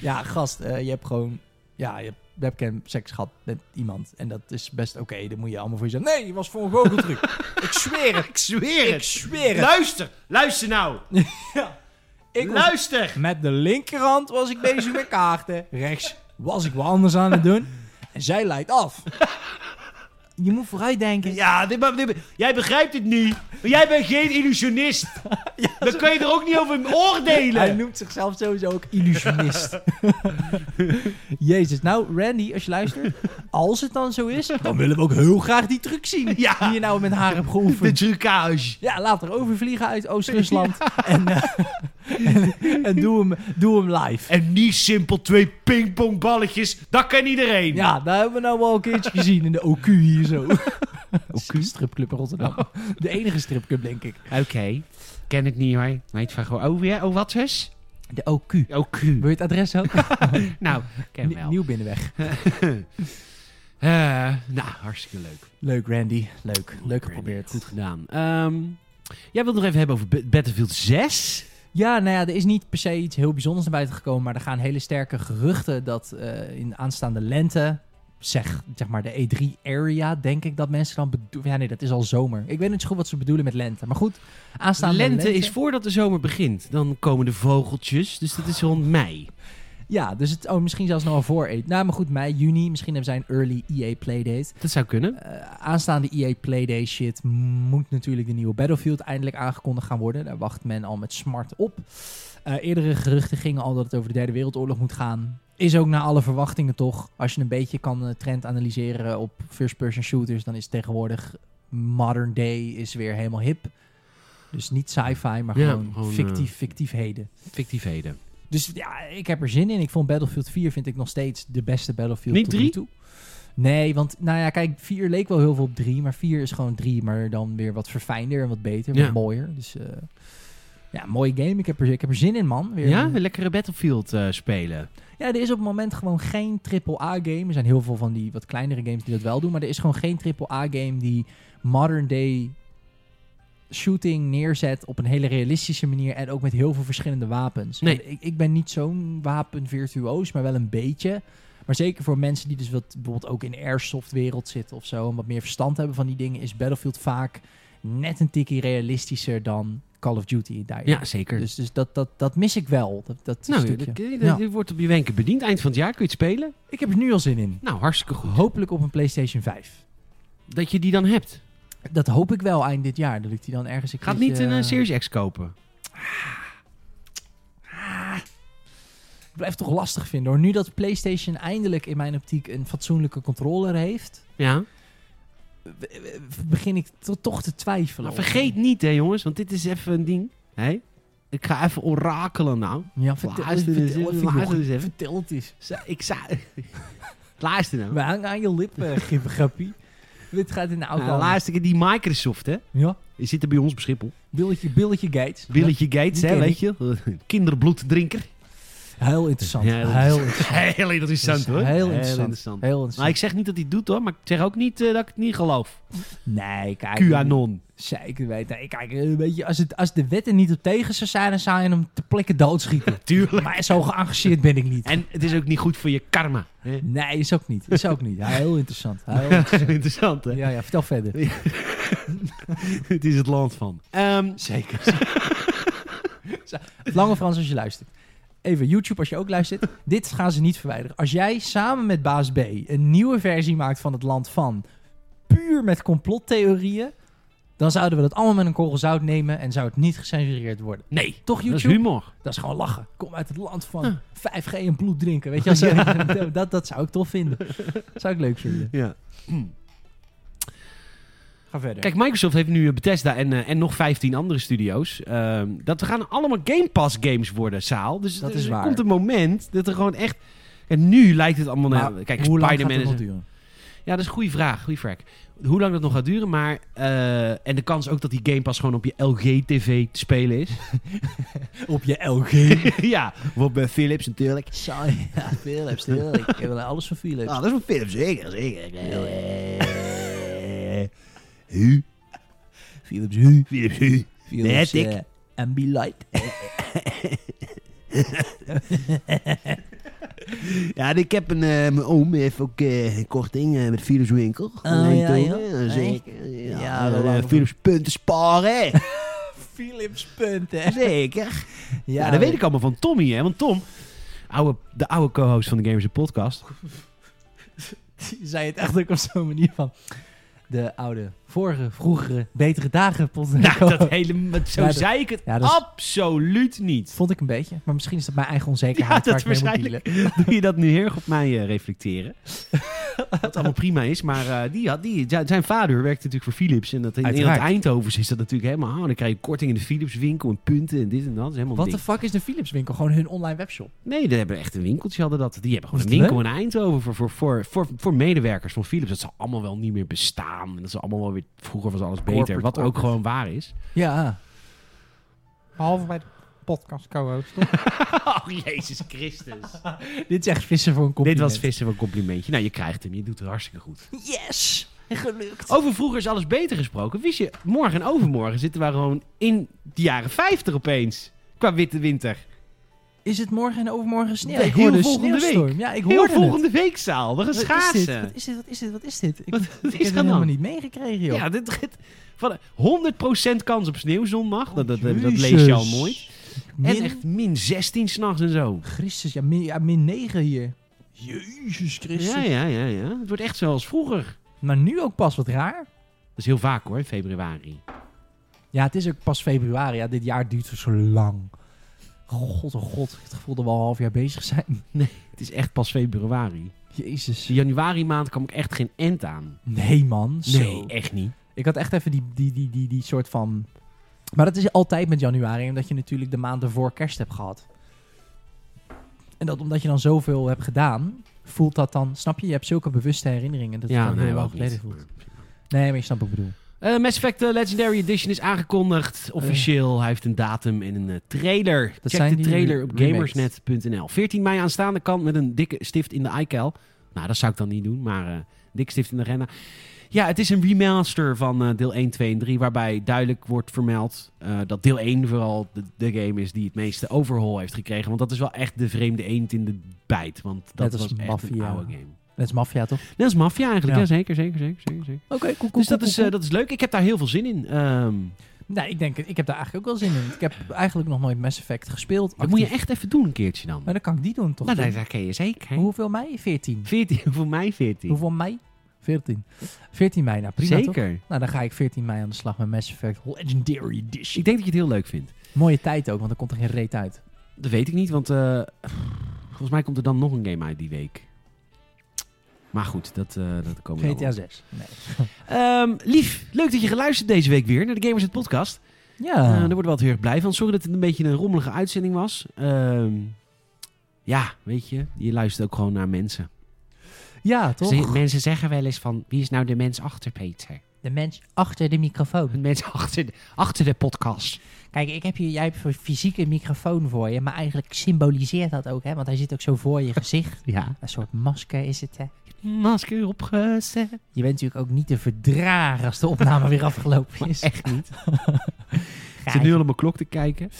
Speaker 2: Ja, gast, eh, je hebt gewoon... Ja, je hebt webcam seks gehad met iemand. En dat is best oké. Dan moet je allemaal voor jezelf... Nee, je was voor een goocheltruc. ik zweer het.
Speaker 1: Ik zweer
Speaker 2: Ik zweer het.
Speaker 1: Luister, luister nou.
Speaker 2: Ik was-
Speaker 1: luister.
Speaker 2: met de linkerhand was ik bezig met kaarten. Rechts was ik wat anders aan het doen. En zij leidt af. Je moet vooruit denken.
Speaker 1: Ja, dit, maar- dit- jij begrijpt het niet. Maar jij bent geen illusionist. Dan kun je er ook niet over
Speaker 2: Hij
Speaker 1: oordelen.
Speaker 2: noemt zichzelf sowieso ook illusionist. Jezus, nou Randy, als je luistert, als het dan zo is, dan willen we ook heel graag die truc zien
Speaker 1: Ja.
Speaker 2: die je nou met haar hebt
Speaker 1: De
Speaker 2: geoefend.
Speaker 1: trucage.
Speaker 2: Ja, laat er overvliegen uit Oost-Rusland en, eh, en, en doe, hem, doe hem live.
Speaker 1: En niet simpel twee pingpongballetjes. Dat kan iedereen.
Speaker 2: Ja, dat hebben we nou wel een keertje gezien in de OQ hier zo. Oh.
Speaker 1: Oké.
Speaker 2: Stripclub in Rotterdam. De enige stripclub, denk ik.
Speaker 1: Ken ik niet hoor. Meid van gewoon. Oh, ja? oh wat zus?
Speaker 2: De OQ.
Speaker 1: Oh, Q.
Speaker 2: Wil je het adres ook?
Speaker 1: Nou, ken
Speaker 2: N- Nieuw binnenweg.
Speaker 1: Eh, nou, hartstikke leuk.
Speaker 2: Leuk, Randy. Leuk. Leuk
Speaker 1: Randy,
Speaker 2: geprobeerd.
Speaker 1: Goed gedaan. Ehm, jij wilt het nog even hebben over Ba- Battlefield 6?
Speaker 2: Ja, nou ja, er is niet per se iets heel bijzonders naar buiten gekomen. Maar er gaan hele sterke geruchten dat eh, in aanstaande lente. Zeg, zeg maar de E3-area, denk ik dat mensen dan bedoelen. Ja, nee, dat is al zomer. Ik weet niet zo goed wat ze bedoelen met lente. Maar goed, aanstaande
Speaker 1: Lente,
Speaker 2: lente.
Speaker 1: is voordat de zomer begint. Dan komen de vogeltjes. Dus dat is rond mei.
Speaker 2: Ja, dus het, oh, misschien zelfs nog wel voor. E- Nou, maar goed, mei, juni. Misschien hebben zij een early EA Playdate.
Speaker 1: Dat zou kunnen.
Speaker 2: Eh, aanstaande EA Playday shit moet natuurlijk de nieuwe Battlefield eindelijk aangekondigd gaan worden. Daar wacht men al met smart op. Eh, eerdere geruchten gingen al dat het over de Derde Wereldoorlog moet gaan. Is ook naar alle verwachtingen toch. Als je een beetje kan eh, trend analyseren op first-person shooters, dan is tegenwoordig modern day is weer helemaal hip. Dus niet sci-fi, maar
Speaker 1: Ja,
Speaker 2: gewoon,
Speaker 1: gewoon, eh,
Speaker 2: fictief, fictiefheden.
Speaker 1: Fictiefheden.
Speaker 2: Dus ja, ik heb er zin in. Ik vond Battlefield 4 vind ik nog steeds de beste Battlefield
Speaker 1: Niet
Speaker 2: tot nu
Speaker 1: drie?
Speaker 2: toe. Nee, want nou ja, kijk, 4 leek wel heel veel op 3, maar 4 is gewoon 3, maar dan weer wat verfijnder en wat beter,
Speaker 1: Ja.
Speaker 2: wat mooier. Dus eh, ja, mooie game. Ik heb, er, ik heb er zin in, man. Weer
Speaker 1: Ja,
Speaker 2: een-
Speaker 1: een lekkere Battlefield eh, spelen.
Speaker 2: ja, er is op het moment gewoon geen AAA-game. Er zijn heel veel van die wat kleinere games die dat wel doen. Maar er is gewoon geen AAA-game die modern-day shooting neerzet op een hele realistische manier. En ook met heel veel verschillende wapens.
Speaker 1: Nee.
Speaker 2: En Ik, ik ben niet zo'n wapenvirtuoos, maar wel een beetje. Maar zeker voor mensen die dus wat, bijvoorbeeld ook in de airsoft-wereld zitten of zo... en wat meer verstand hebben van die dingen... is Battlefield vaak net een tikkie realistischer dan Call of Duty. Daar.
Speaker 1: Ja, zeker.
Speaker 2: Dus, dus dat, dat, dat mis ik wel, dat, dat
Speaker 1: nou,
Speaker 2: stukje.
Speaker 1: dit, dit-
Speaker 2: Ja.
Speaker 1: dit wordt op je wenken bediend. Eind van het jaar kun je het spelen.
Speaker 2: Ik heb er nu al zin in.
Speaker 1: Nou, hartstikke goed.
Speaker 2: Hopelijk op een PlayStation 5.
Speaker 1: Dat je die dan hebt.
Speaker 2: Dat hoop ik wel eind dit jaar. Dat ik die dan ergens. een
Speaker 1: Gaat
Speaker 2: keertje-
Speaker 1: niet een eh, Series X kopen.
Speaker 2: Ik blijf het toch lastig vinden hoor. Nu dat PlayStation eindelijk in mijn optiek een fatsoenlijke controller heeft,
Speaker 1: Ja.
Speaker 2: begin ik to- toch te twijfelen.
Speaker 1: Maar
Speaker 2: of-
Speaker 1: Nou, vergeet niet, hè jongens. Want dit is even een ding. Hé? Ik ga even orakelen nou.
Speaker 2: Ja, vertel, oh,
Speaker 1: Luister eens
Speaker 2: vertel-
Speaker 1: even,
Speaker 2: vertel-
Speaker 1: luister eens even.
Speaker 2: vertel het eens.
Speaker 1: Za- Ik zou... Luister nou.
Speaker 2: We hangen aan je lippen, grappie. Dit gaat in de auto.
Speaker 1: Nou, luister, die Microsoft, hè.
Speaker 2: ja.
Speaker 1: Die zitten bij ons op Schiphol.
Speaker 2: Billetje, billetje Gates.
Speaker 1: Billetje Gates,
Speaker 2: die
Speaker 1: hè,
Speaker 2: ken
Speaker 1: weet je. Kinderbloeddrinker.
Speaker 2: Ja, Heel interessant.
Speaker 1: Ja, dat is-
Speaker 2: heel interessant.
Speaker 1: Heel interessant, hoor.
Speaker 2: Heel interessant. Heel
Speaker 1: Maar
Speaker 2: interessant.
Speaker 1: ik zeg niet dat hij het doet, hoor. Maar ik zeg ook niet eh, dat ik het niet geloof.
Speaker 2: Nee, kijk.
Speaker 1: QAnon.
Speaker 2: Zeker weten. Ik kijk, een beetje, als, het, als de wet er niet op tegen zou zijn, dan zou je hem te plekken doodschieten.
Speaker 1: Tuurlijk.
Speaker 2: maar zo geëngageerd ben ik niet.
Speaker 1: En het is ook niet goed voor je karma. Hè?
Speaker 2: Nee, is ook niet. Is ook niet. Ja, heel interessant. Heel interessant.
Speaker 1: Interessant, hè?
Speaker 2: Ja, ja, vertel verder.
Speaker 1: Het is het land van. Ehm,
Speaker 2: Zeker. Lange Frans als je luistert. Even YouTube als je ook luistert. Dit gaan ze niet verwijderen. Als jij samen met baas B een nieuwe versie maakt van het land van... puur met complottheorieën... dan zouden we dat allemaal met een korrel zout nemen en zou het niet gecensureerd worden.
Speaker 1: Nee,
Speaker 2: Toch
Speaker 1: dat is
Speaker 2: YouTube?
Speaker 1: humor.
Speaker 2: Dat is gewoon lachen. Kom uit het land van
Speaker 1: Ja.
Speaker 2: 5G en bloed drinken. Weet je, als, dat, dat zou ik tof vinden. Zou ik leuk vinden.
Speaker 1: Ja.
Speaker 2: Ga verder.
Speaker 1: Kijk, Microsoft heeft nu eh, Bethesda en, eh, en nog 15 andere studio's. ehm, dat we gaan allemaal Game Pass games worden, Saal. Dus
Speaker 2: Dat
Speaker 1: er-
Speaker 2: is
Speaker 1: er
Speaker 2: waar.
Speaker 1: komt een moment dat er gewoon echt... En nu lijkt het allemaal...
Speaker 2: Maar
Speaker 1: naar. kijk,
Speaker 2: hoe lang gaat
Speaker 1: Spider-Man
Speaker 2: het
Speaker 1: is...
Speaker 2: nog duren?
Speaker 1: Ja, dat is een goede vraag. Goede vraag. Hoe lang dat nog gaat duren, maar... eh, en de kans ook dat die Game Pass gewoon op je LG-TV te spelen is.
Speaker 2: Op je LG.
Speaker 1: ja, wat bij Philips natuurlijk.
Speaker 2: Saai. Ja, Philips. Philips. Ik wil alles van Philips.
Speaker 1: Ah, dat is van Philips, zeker, zeker.
Speaker 2: Philips Hue.
Speaker 1: Philips, Eh, hu.
Speaker 2: Philips
Speaker 1: Matic.
Speaker 2: eh, Ambilight.
Speaker 1: Ja, en ik heb een, eh, mijn oom heeft ook eh, een korting eh, met Philips Winkel.
Speaker 2: ja,
Speaker 1: Weet je toch?
Speaker 2: joh.
Speaker 1: Ja, eh, zeker. Ja,
Speaker 2: Ja,
Speaker 1: eh,
Speaker 2: wel lang.
Speaker 1: Philips punten sparen.
Speaker 2: Philips punten.
Speaker 1: zeker. Ja, dat weet ik allemaal van Tommy, hè. Want Tom, oude, de oude co-host van de Gamers Podcast.
Speaker 2: Je zei het echt ook op zo'n manier van... De oude, vorige, vroegere, betere dagen. podcast.
Speaker 1: Nou, dat hele, dat- zo
Speaker 2: Ja, dat-
Speaker 1: zei ik het
Speaker 2: ja, dat is-
Speaker 1: absoluut niet.
Speaker 2: Vond ik een beetje. Maar misschien is dat mijn eigen
Speaker 1: Ja,
Speaker 2: onzekerheid
Speaker 1: dat
Speaker 2: waar ik mee moet
Speaker 1: waarschijnlijk.
Speaker 2: dealen.
Speaker 1: Doe je dat nu heel erg op mij eh, reflecteren? Wat allemaal prima is, maar eh, die had, die, zijn- zijn vader werkte natuurlijk voor Philips. En dat in, in dat
Speaker 2: Uiteraard.
Speaker 1: Eindhovens is dat natuurlijk helemaal... Oh, dan krijg je korting in de Philips winkel en punten en dit en dat. dat is helemaal een
Speaker 2: Wat de
Speaker 1: ding.
Speaker 2: fuck is de Philips winkel? Gewoon hun online webshop.
Speaker 1: Nee, die hebben echt een winkeltje hadden dat. Die hebben gewoon
Speaker 2: Is
Speaker 1: een
Speaker 2: dat
Speaker 1: winkel in Eindhoven voor, voor, voor, voor, voor medewerkers van Philips. Dat zal allemaal wel niet meer bestaan. En dat zal allemaal wel weer... Vroeger was alles beter,
Speaker 2: Corporate,
Speaker 1: wat ook
Speaker 2: corporate.
Speaker 1: gewoon waar is.
Speaker 2: Ja.
Speaker 3: Behalve bij de podcast co-host, toch?
Speaker 1: Oh, Jezus Christus.
Speaker 2: Dit is echt vissen voor een
Speaker 1: Dit
Speaker 2: compliment.
Speaker 1: was vissen van complimentje. Nou, je krijgt hem. Je doet het hartstikke goed.
Speaker 2: Yes! Gelukt.
Speaker 1: Over vroeger is alles beter gesproken. Wist je, morgen en overmorgen zitten we gewoon in de jaren 50 opeens. Qua witte winter.
Speaker 2: Is het morgen en overmorgen sneeuw?
Speaker 1: Nee,
Speaker 2: ik hoorde
Speaker 1: heel
Speaker 2: een
Speaker 1: volgende
Speaker 2: sneeuwstorm. Ja, ik
Speaker 1: Heel
Speaker 2: hoorde
Speaker 1: volgende week, Saal. We gaan
Speaker 2: het. Wat is dit?
Speaker 1: schaatsen.
Speaker 2: Wat is dit? Wat is dit? Wat is dit? Ik,
Speaker 1: Wat-
Speaker 2: ik
Speaker 1: wat is
Speaker 2: heb
Speaker 1: er
Speaker 2: het
Speaker 1: aan de
Speaker 2: helemaal
Speaker 1: hand?
Speaker 2: niet meegekregen, joh.
Speaker 1: Ja, dit, dit- van, 100% kans op sneeuw zondag. Dat, dat, dat, dat
Speaker 2: Jezus.
Speaker 1: lees je al mooi.
Speaker 2: Min,
Speaker 1: En echt min 16 s'nachts en zo.
Speaker 2: Christus, ja min, ja, min 9 hier. Jezus Christus.
Speaker 1: Ja, ja, ja, ja. Het wordt echt zoals vroeger.
Speaker 2: Maar nu ook pas, wat raar.
Speaker 1: Dat is heel vaak hoor, in februari.
Speaker 2: Ja, het is ook pas februari. Ja, dit jaar duurt zo lang. God, oh god. Ik heb het gevoel dat we al een half jaar bezig zijn.
Speaker 1: Het is echt pas februari.
Speaker 2: Jezus.
Speaker 1: In januari maand kwam ik echt geen end aan.
Speaker 2: Nee, man.
Speaker 1: Nee,
Speaker 2: Zo.
Speaker 1: echt niet.
Speaker 2: Ik had echt even die, die, die, die, die soort van... Maar dat is altijd met januari, omdat je natuurlijk de maand ervoor kerst hebt gehad. En dat omdat je dan zoveel hebt gedaan, voelt dat dan... Snap je? Je hebt zulke bewuste herinneringen dat het
Speaker 1: Ja,
Speaker 2: dan
Speaker 1: nee,
Speaker 2: heel
Speaker 1: we
Speaker 2: lang
Speaker 1: ook
Speaker 2: geleden
Speaker 1: niet.
Speaker 2: voelt. Nee, maar je snapt wat ik bedoel.
Speaker 1: Eh Mass Effect eh, Legendary Edition is aangekondigd. Officieel. Hij heeft een datum en een eh, trailer.
Speaker 2: Dat
Speaker 1: Check
Speaker 2: zijn
Speaker 1: de
Speaker 2: die
Speaker 1: trailer op
Speaker 2: remakes.
Speaker 1: gamersnet.nl. 14 mei aanstaande kant met een dikke stift in de iCal. Nou, dat zou ik dan niet doen, maar eh dikke stift in de agenda. Ja, het is een remaster van eh, deel 1, 2 en 3, waarbij duidelijk wordt vermeld eh, dat deel 1 vooral de, de game is die het meeste overhaul heeft gekregen. Want dat is wel echt de vreemde eend in de bijt, want dat
Speaker 2: Net als
Speaker 1: was echt een
Speaker 2: Mafia.
Speaker 1: oude game.
Speaker 2: Dat is maffia, toch?
Speaker 1: Net als Mafia eigenlijk,
Speaker 2: Ja.
Speaker 1: ja. zeker, zeker, zeker, zeker. zeker.
Speaker 2: Oké, cool, cool,
Speaker 1: Dus dat is, eh, dat is leuk. Ik heb daar heel veel zin in. Ehm,
Speaker 2: Nou, ik denk, ik heb daar eigenlijk ook wel zin in. Ik heb eigenlijk nog nooit Mass Effect gespeeld.
Speaker 1: Dat moet je
Speaker 2: actief.
Speaker 1: echt even doen een keertje dan.
Speaker 2: Maar dan kan ik die doen, toch?
Speaker 1: nou, dat, dat ken je zeker.
Speaker 2: Hoeveel mei? 14.
Speaker 1: 14, voor mij 14.
Speaker 2: Hoeveel mei? 14. 14 mei, nou prima, toch?
Speaker 1: zeker.
Speaker 2: Nou, dan ga ik 14 mei aan de slag met Mass Effect Legendary Edition.
Speaker 1: Ik denk dat je het heel leuk vindt.
Speaker 2: Mooie tijd ook, want er komt er geen reet uit.
Speaker 1: Dat weet ik niet, want eh, volgens mij komt er dan nog een game uit die week. Maar goed, dat, eh dat komen we
Speaker 2: GTA
Speaker 1: wel
Speaker 2: 6. Nee.
Speaker 1: op. Ehm, Lief, leuk dat je geluisterd deze week weer naar de Gamers het Podcast. Eh,
Speaker 2: Ja.
Speaker 1: daar worden we altijd heel erg blij van. Sorry dat het een beetje een rommelige uitzending was. Ehm, ja, weet je, je luistert ook gewoon naar mensen.
Speaker 2: ja,
Speaker 1: Ze-
Speaker 2: toch?
Speaker 1: mensen zeggen wel eens van, wie is nou de mens achter Peter?
Speaker 2: De mens achter de microfoon.
Speaker 1: De mens achter de, achter de podcast.
Speaker 2: Kijk, ik heb hier, jij hebt een fysieke microfoon voor je, maar eigenlijk symboliseert dat ook, hè? Want hij zit ook zo voor je gezicht.
Speaker 1: Ja.
Speaker 2: Een soort masker is het, hè?
Speaker 1: Masker opgezet.
Speaker 2: Je bent natuurlijk ook niet te verdragen als de opname weer afgelopen is. Echt niet.
Speaker 1: Ik zit nu al op mijn klok te kijken.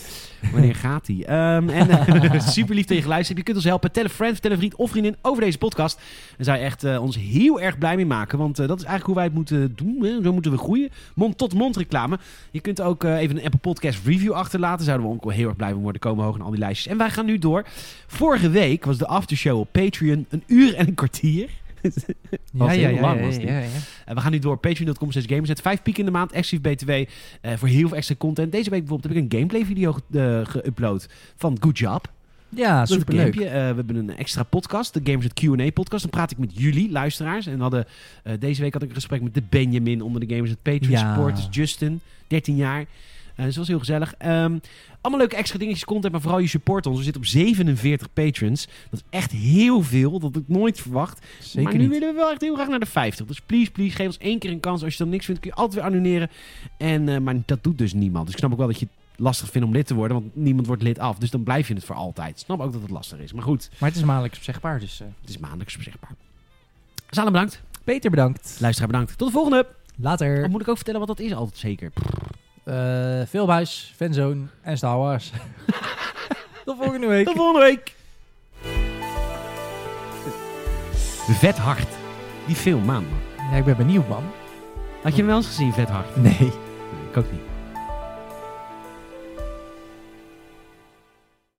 Speaker 1: Wanneer gaat die? Ehm, en eh, super lief dat je geluisterd hebt. Je kunt ons helpen. Tel een friend, tel een vriend of vriendin over deze podcast. Daar zou je echt eh, ons heel erg blij mee maken. Want eh, dat is eigenlijk hoe wij het moeten doen. Hè. Zo moeten we groeien. Mond-tot-mond reclame. Je kunt ook eh, even een Apple Podcast review achterlaten. Zouden we ook wel heel erg blij van worden. Komen we hoog in al die lijstjes. En wij gaan nu door. Vorige week was de aftershow op Patreon een uur en een kwartier.
Speaker 2: Ja,
Speaker 3: heel
Speaker 2: ja, ja,
Speaker 3: lang
Speaker 2: ja,
Speaker 3: was die.
Speaker 2: ja, ja.
Speaker 1: En we gaan nu door patreon.com slash gamerzet. Vijf piek in de maand, exclusief BTW. eh, voor heel veel extra content. Deze week bijvoorbeeld heb ik een gameplay video ge- eh, geüpload van Good Job.
Speaker 2: Ja,
Speaker 1: Leuk
Speaker 2: Ah, superleuk.
Speaker 1: gamepje. Eh, we hebben een extra podcast, de Gamers at Q&A podcast. Dan praat ik met jullie, luisteraars. En we hadden, eh, deze week had ik een gesprek met de Benjamin onder de Gamers at Patreon
Speaker 2: Ja.
Speaker 1: supporters. Justin, 13 jaar. Eh, dus dat was heel gezellig. Ehm, allemaal leuke extra dingetjes, content, maar vooral je support ons. We zitten op 47 patrons. Dat is echt heel veel, dat had ik nooit verwacht
Speaker 2: Zeker
Speaker 1: maar nu
Speaker 2: niet.
Speaker 1: willen we wel echt heel graag naar de 50. Dus please, please, geef ons één keer een kans. Als je dan niks vindt, kun je altijd weer annuleren. En, eh, maar dat doet dus niemand. Dus ik snap ook wel dat je het lastig vindt om lid te worden. Want niemand wordt lid af. Dus dan blijf je het voor altijd. Ik snap ook dat het lastig is. Maar goed,
Speaker 2: Maar het is maandelijks opzegbaar, dus... eh,
Speaker 1: het is maandelijks beschikbaar. Zalen bedankt.
Speaker 2: Peter, bedankt.
Speaker 1: Luisteraar bedankt. Tot de volgende.
Speaker 2: Later.
Speaker 1: Dan moet ik ook vertellen wat dat is altijd zeker.
Speaker 2: Eh Veelbuis, Fanzone en Star Wars. Tot volgende week.
Speaker 1: Tot volgende week. Vet hard. Die film, man.
Speaker 2: Ja, ik ben benieuwd, man.
Speaker 1: Had je hem wel eens gezien, Vet hard?
Speaker 2: Nee.
Speaker 1: Ik ook niet.